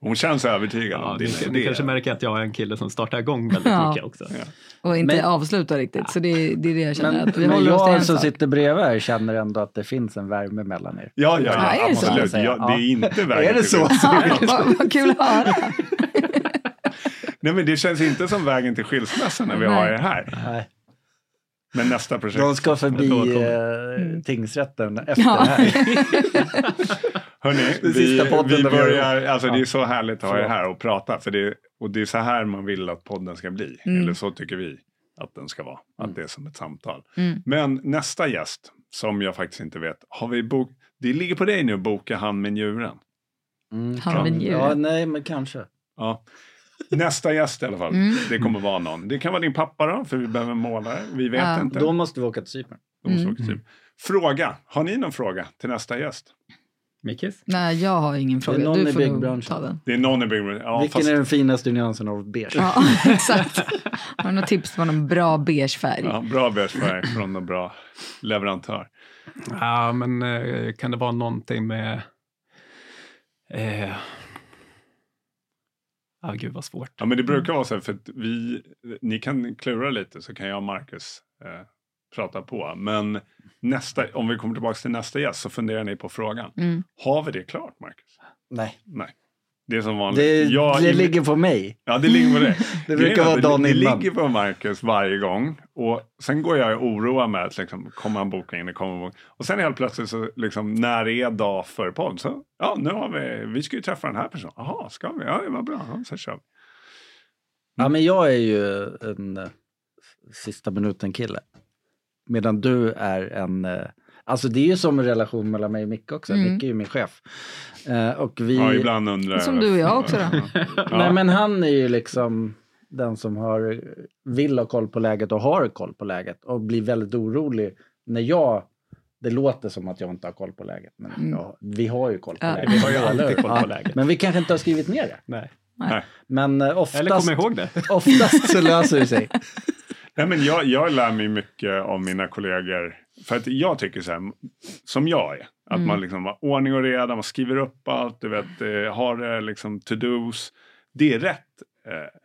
S5: Hon känns övertygad
S3: Ja,
S5: om din
S3: ni,
S5: idé.
S3: ni kanske märker att jag är en kille som startar igång väldigt
S2: Ja.
S3: mycket också.
S2: Och inte
S1: Men-
S2: avsluta riktigt. Så det, det är det jag känner.
S1: Men,
S2: att eh, vi
S1: men
S2: håller oss till en
S1: jag som
S2: sak. [LAUGHS]
S1: sitter bredvid er känner ändå att det finns en värme mellan er.
S5: Ja, ja,
S2: Ja,
S5: ja,
S2: är det så?
S5: absolut. Ja, det är inte vägen
S1: Är det
S5: till
S1: så?
S5: skilsmässa.
S2: vad, vad kul att höra.
S5: Nej, men det känns inte som vägen till skilsmässa när vi
S2: Nej.
S5: har er här.
S1: Nej.
S5: Men nästa projekt.
S1: De ska
S3: Jag tror
S1: förbi
S3: jag
S1: eh, tingsrätten efter
S2: Mm. Ja.
S1: det här.
S5: Hörrni,
S1: Det
S5: vi,
S1: sista podden
S5: vi
S1: där vi
S5: börjar, alltså det är
S1: Ja.
S5: så härligt att ha er
S1: Förlåt.
S5: här och prata. För det, och det är så här man vill att podden ska bli.
S1: Mm.
S5: Eller så tycker vi att den ska vara. Att det är som ett samtal.
S2: Mm.
S5: Men nästa gäst, som jag faktiskt inte vet. Har vi bok, det ligger på dig nu att boka han med njuren.
S1: Mm,
S2: Han
S1: kan-
S2: med djuren.
S1: Ja, nej, men kanske.
S5: Ja. Nästa gäst i alla fall.
S2: Mm.
S5: Det kommer vara någon. Det kan vara din pappa då, för vi behöver en målare. Vi vet
S2: Ja.
S5: inte.
S1: Då måste vi åka till Cypern.
S5: De måste
S2: Mm.
S5: åka till- Fråga. Har ni någon fråga till nästa gäst?
S3: Mickis?
S2: Nej, jag har ingen
S1: Det är
S2: fråga.
S1: någon
S2: Du
S1: i
S2: får nog
S1: byggbranschen.
S2: ta den.
S5: Det är någon i Big Brother. Ja,
S1: Vilken
S5: fast-
S1: är den finaste nyansen av beige?
S2: Ja, [LAUGHS] exakt. Har du något tips på någon bra beige färg?
S5: Ja, bra bärsfärg från en bra leverantör.
S3: Ja, men eh, kan det vara någonting med... Eh, ah, gud vad svårt.
S5: Ja, men det brukar vara så här, för att vi, ni kan klura lite så kan jag och Marcus eh, prata på. Men nästa, om vi kommer tillbaka till nästa gäst så funderar ni på frågan.
S2: Mm.
S5: Har vi det klart, Marcus?
S1: Nej,
S5: Nej. Det är Mm. som vanligt.
S1: det,
S5: Jag-
S1: det ligger på mig.
S5: Ja,
S1: [LAUGHS]
S5: det ligger på dig.
S1: Det
S5: Grejen
S1: brukar
S5: är
S1: vara
S5: att
S1: dagen
S5: det,
S1: innan.
S5: Det ligger på Marcus varje gång. Och sen går jag och oroar mig. Att liksom, kommer han boka in det? Kommer han boka? Och sen helt plötsligt, så liksom, när det är dag för podd. Så, ja, nu har vi, vi ska ju träffa den här personen. Jaha, ska vi? Ja, det var bra. Ja, så kör vi.
S1: Ja, men jag är ju en eh, sista minuten-kille. Medan du är en... eh, Alltså det är ju som en relation mellan mig och Micke också.
S2: Mm.
S1: Micke är ju min chef. Eh, och vi...
S5: Ja, ibland undrar
S2: Som du och jag också då.
S5: [LAUGHS] Ja.
S1: Nej, men han är ju liksom den som har, vill ha koll på läget och har koll på läget och blir väldigt orolig när jag... Det låter som att jag inte har koll på läget, men ja, vi har ju koll på
S2: Mm. Ja.
S1: läget.
S3: Vi har ju alltid
S1: Eller hur?
S3: koll på
S1: Ja,
S3: läget.
S1: Men vi kanske inte har skrivit ner det.
S3: Nej.
S1: Men eh, oftast,
S3: Eller kom ihåg det.
S2: [LAUGHS]
S1: oftast så löser det sig.
S5: Nej, men jag, jag lär mig mycket av mina kollegor. För att jag tycker så här, som jag är. Att
S2: Mm.
S5: man liksom har ordning och reda, man skriver upp allt, du vet, eh, har det liksom to-dos. Det är rätt eh,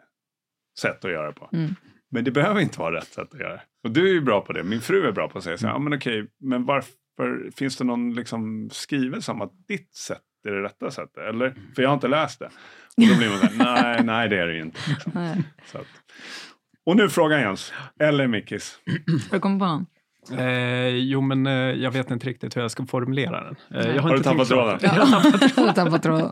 S5: sätt att göra på.
S2: Mm.
S5: Men det behöver inte vara rätt sätt att göra. Och du är ju bra på det, min fru är bra på att säga så här, ja men okej, men varför finns det någon liksom skrivelse om att ditt sätt är det rätta sättet? Eller? För jag har inte läst det. Och då blir man så här, nej, nej det är det ju inte. Liksom.
S2: Nej.
S5: Så att. Och nu frågan Jens, eller Mickis.
S2: Har du kommit på någon?
S3: Eh, jo, men eh, jag vet inte riktigt hur jag ska formulera den. Eh, jag
S5: Har du
S3: inte tänkt klart.
S5: tappat tråden?
S2: [LAUGHS] Jag tappar tråden.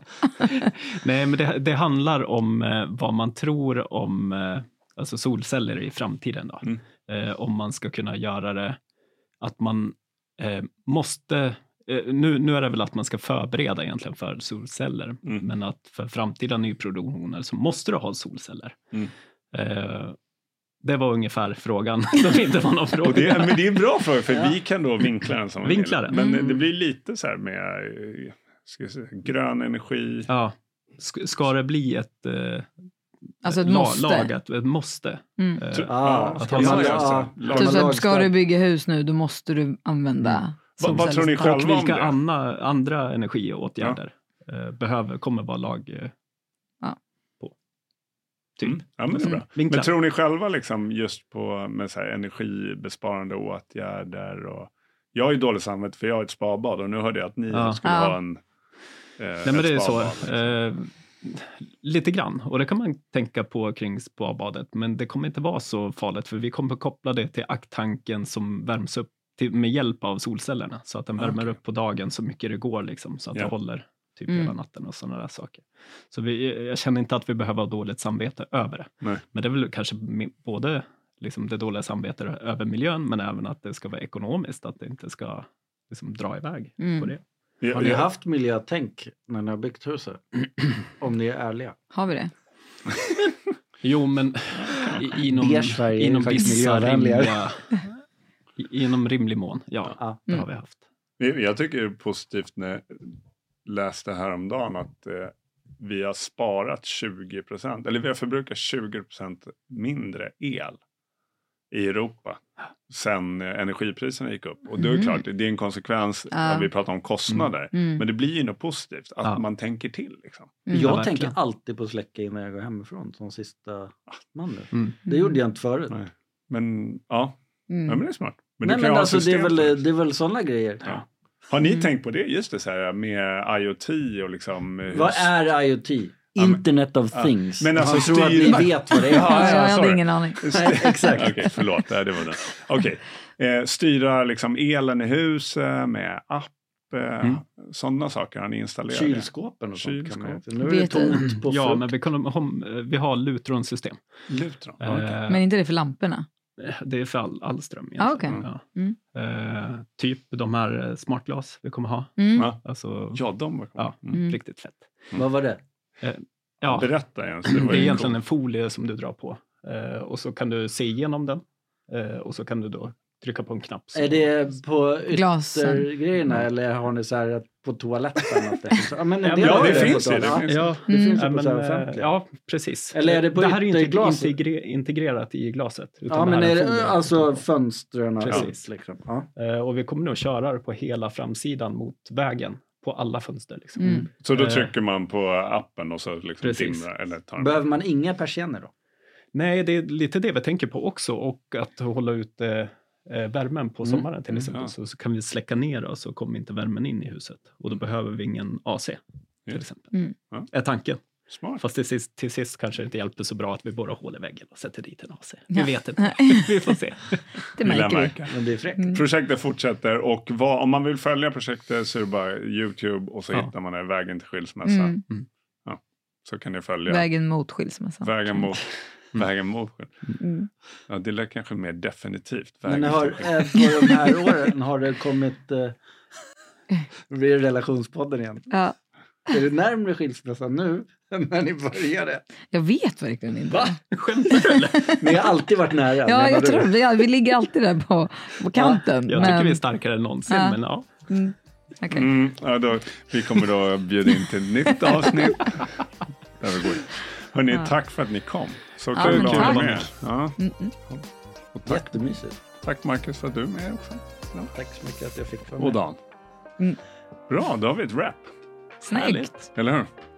S3: [LAUGHS] Nej, men det, det handlar om eh, vad man tror om eh, alltså solceller i framtiden. Då.
S5: Mm.
S3: Eh, om man ska kunna göra det, att man eh, måste... Eh, nu, nu är det väl att man ska förbereda egentligen för solceller,
S5: Mm.
S3: men att för framtida nyproduktioner så måste du ha solceller.
S5: Mm.
S3: Eh, det var ungefär frågan, [LAUGHS] som inte var någon fråga.
S5: Och det, men det är en bra fråga, för vi kan då vinkla den som vi vill.
S3: Vinkla den.
S5: Men
S2: Mm.
S5: det blir lite så här med eh, ska jag säga, grön energi.
S3: [LAUGHS] Ja. Ska, ska det bli ett, eh,
S2: Alltså ett
S3: la-
S2: måste.
S3: lag, ett, ett måste?
S2: Mm.
S3: Eh,
S5: Tr-
S1: Ah,
S5: ja,
S1: ska
S5: ja,
S3: man-
S5: ja,
S1: ah,
S5: så.
S1: typ
S5: Lagom.
S2: Typ så här,
S1: Lagstad.
S2: ska du bygga hus nu, då måste du använda
S5: Mm. Vad- vad tror ni
S2: solceller.
S5: själva
S3: Och
S5: om
S3: vilka
S5: det?
S3: anna, andra energiåtgärder eh, behöver, kommer vara lag eh,
S2: Ja.
S3: på? Typ.
S5: Mm. Ja, men det är bra.
S3: Vinklar.
S5: Men tror ni själva liksom just på med så här energibesparande åtgärder? Och, jag har ju dåligt samvete för jag har ett spabad och nu hörde jag att ni
S3: Ja.
S5: skulle
S2: Ja.
S5: ha en eh,
S3: Nej, men
S5: ett
S3: det är så.
S5: spabad, liksom.
S3: Eh, lite grann. Och det kan man tänka på kring spabadet. Men det kommer inte vara så farligt, för vi kommer koppla det till akttanken som värms upp till, med hjälp av solcellerna. Så att den värmer
S5: Ah, Okej.
S3: upp på dagen så mycket det går, liksom, så att
S5: Ja.
S3: det håller typ
S2: Mm.
S3: hela natten och sådana där saker. Så vi, jag känner inte att vi behöver ha dåligt samvete över det.
S5: Nej.
S3: Men det är väl kanske mi- både liksom det dåliga samvetet över miljön, men även att det ska vara ekonomiskt, att det inte ska liksom dra iväg
S2: Mm.
S3: på det.
S5: Jag-
S1: Har ni
S5: jag-
S1: haft miljötänk när ni har byggt huset? [CLEARS THROAT] Om ni är ärliga.
S2: Har vi det?
S3: Jo, men i, inom,
S1: Beige färg är
S3: inom
S1: ju faktiskt
S3: vissa
S1: miljövänligare.
S3: rimliga... i- Inom rimlig mån, ja.
S1: Ja.
S3: Det
S2: Mm.
S3: har vi haft.
S5: Jag jag tycker det är positivt när jag läste häromdagen att eh, vi har sparat 20 procent, eller vi har förbrukat 20 procent mindre el i Europa sen eh, energipriserna gick upp. Och det
S1: Mm.
S5: är
S2: Mhm.
S5: klart, det är en konsekvens
S2: Ja.
S5: när vi pratar om kostnader.
S2: Mm.
S5: Men det blir ju något positivt att
S3: Ja.
S5: man tänker till. Liksom.
S2: Mm.
S3: Ja,
S1: Jag
S3: verkligen.
S1: tänker alltid på att släcka innan jag går hemifrån som sista man nu.
S3: Mm.
S1: Det gjorde jag inte förut.
S5: Nej. Men ja,
S2: Mm.
S5: ja men det är smart. Men
S1: Nej,
S5: du kan
S1: men
S5: ju ha
S1: alltså, det, är
S5: system
S1: väl,
S5: för det.
S1: det är väl sådana grejer.
S5: Ja. Har ni
S2: Mm.
S5: tänkt på det? Just det, så här med IoT och liksom... eh, hur
S1: Vad är IoT?
S5: Ja, men-
S1: Internet of
S5: ja.
S1: things.
S5: Men alltså,
S1: jag tror att
S5: styr-
S1: ni vet vad det är.
S5: [LAUGHS] Ja,
S2: Ja, jag hade
S5: sorry.
S2: ingen aning.
S1: [LAUGHS] Nej, exakt.
S5: Okej, förlåt. Nej, Det var det. Okej. Eh, styra liksom elen i huset med app. Eh,
S3: Mm.
S5: Sådana saker har ni installerat.
S1: Kylskåpen och sånt. Kan man,
S5: Kylskåp.
S1: nu är det
S2: Vet du-
S1: tomt på
S3: Ja,
S1: frukt.
S3: men vi, kan, hom- eh, vi har Lutron-system.
S5: Lutron.
S3: Eh,
S5: Okej.
S2: Men inte det för lamporna?
S3: Det är för all, all ström.
S2: Ah,
S3: egentligen.
S5: okej.
S3: Ja.
S2: Mm.
S3: Eh, typ de här eh, smartglas vi kommer ha.
S2: Mm.
S5: Ja.
S3: Alltså,
S5: Ja, de var
S3: Ja,
S5: Mm.
S2: Mm.
S3: riktigt fett.
S1: Vad var det?
S3: Ja,
S5: Berätta Jens. Det, var
S3: det är
S5: ju
S3: egentligen
S5: coolt.
S3: en folie som du drar på eh, och så kan du se igenom den eh, och så kan du då trycka på en knapp. Så
S1: Är det på
S2: Glasen.
S5: Mm.
S1: yttergrejerna eller har ni så här att på toaletten? Att det, ja, men en
S3: Ja,
S1: del
S3: men
S1: har
S3: det
S5: finns
S1: på
S5: ju, det
S1: toaletten.
S5: finns.
S3: Ja,
S1: Det
S2: Mm.
S1: finns
S3: ja,
S1: ju på
S3: men,
S1: så här
S3: eh,
S1: Typ offentliga.
S3: ja, precis.
S1: Eller är det på
S3: här är inte
S1: ytterglaset?
S3: integre- integrerat i glaset. utan
S1: Ja, men
S3: här
S1: är
S3: folien.
S1: det, alltså fönstren och
S3: Precis.
S1: allt liksom. Ja.
S3: Eh, Och vi kommer nog köra det på hela framsidan mot vägen på alla fönster. Liksom.
S2: Mm.
S5: så då
S3: eh,
S5: trycker man på appen och så liksom
S3: Precis.
S5: dimrar eller tar
S1: Behöver man inga persienner då?
S3: Nej, det är lite det vi tänker på också och att hålla ut eh, eh, värmen på
S1: Mm.
S3: sommaren till
S1: Mm.
S3: exempel.
S5: Ja.
S3: Så, så kan vi släcka ner och så kommer inte värmen in i huset och då behöver vi ingen AC till
S5: Just.
S3: exempel.
S2: Mm.
S5: Ja.
S3: Är tanken.
S5: Smart.
S3: Fast till sist, till sist kanske det inte hjälper så bra att vi borrar hål i väggen och sätter dit en AC. Vi
S2: Ja.
S3: vet
S2: [LAUGHS]
S3: inte. [LAUGHS] vi får se.
S2: Det
S5: Lilla
S2: märker vi.
S5: märken.
S1: Men det är fräckt.
S2: Mm.
S5: Projektet fortsätter och vad, om man vill följa projektet så är det bara Youtube och så
S3: Ja.
S5: hittar man det, Vägen till skilsmässa.
S2: Mm.
S5: Så kan ni följa vägen,
S2: Vägen mot skilsmässan.
S5: mot... Vägen mot
S2: Mm.
S5: Ja, det lät kanske mer definitivt.
S1: Men
S5: Vägen
S1: har,
S5: till skilsmässa.
S1: eh, på de här åren har det kommit... Eh, det blir relationspodden igen.
S2: Ja,
S1: Är du närmare skilsmässan nu än när ni började?
S2: jag vet verkligen inte.
S1: Va?
S3: Skämtar du eller?
S1: Ni har alltid varit nära.
S2: Ja,
S1: menar
S2: jag
S1: du?
S2: tror det. Ja, vi ligger alltid där på, på kanten.
S3: Jag tycker
S2: men,
S3: vi är starkare än någonsin,
S2: Ja.
S3: men ja.
S2: mm. Okej.
S5: Mm, ja, då, vi kommer då bjuda in till
S1: [LAUGHS]
S5: ett nytt avsnitt. Där vi går. Hörrni, tack för att ni kom. Så
S2: Ja,
S5: kul
S2: men
S5: att ha er
S2: tack.
S5: med. Ja. Och tack,
S1: Jättemysigt.
S5: tack Marcus för att du är med också.
S1: Tack så mycket att jag fick vara med.
S5: Och Dan.
S2: Mm.
S5: Bra, då har vi ett rap.
S2: Snyggt.
S3: Härligt.
S5: Eller hur?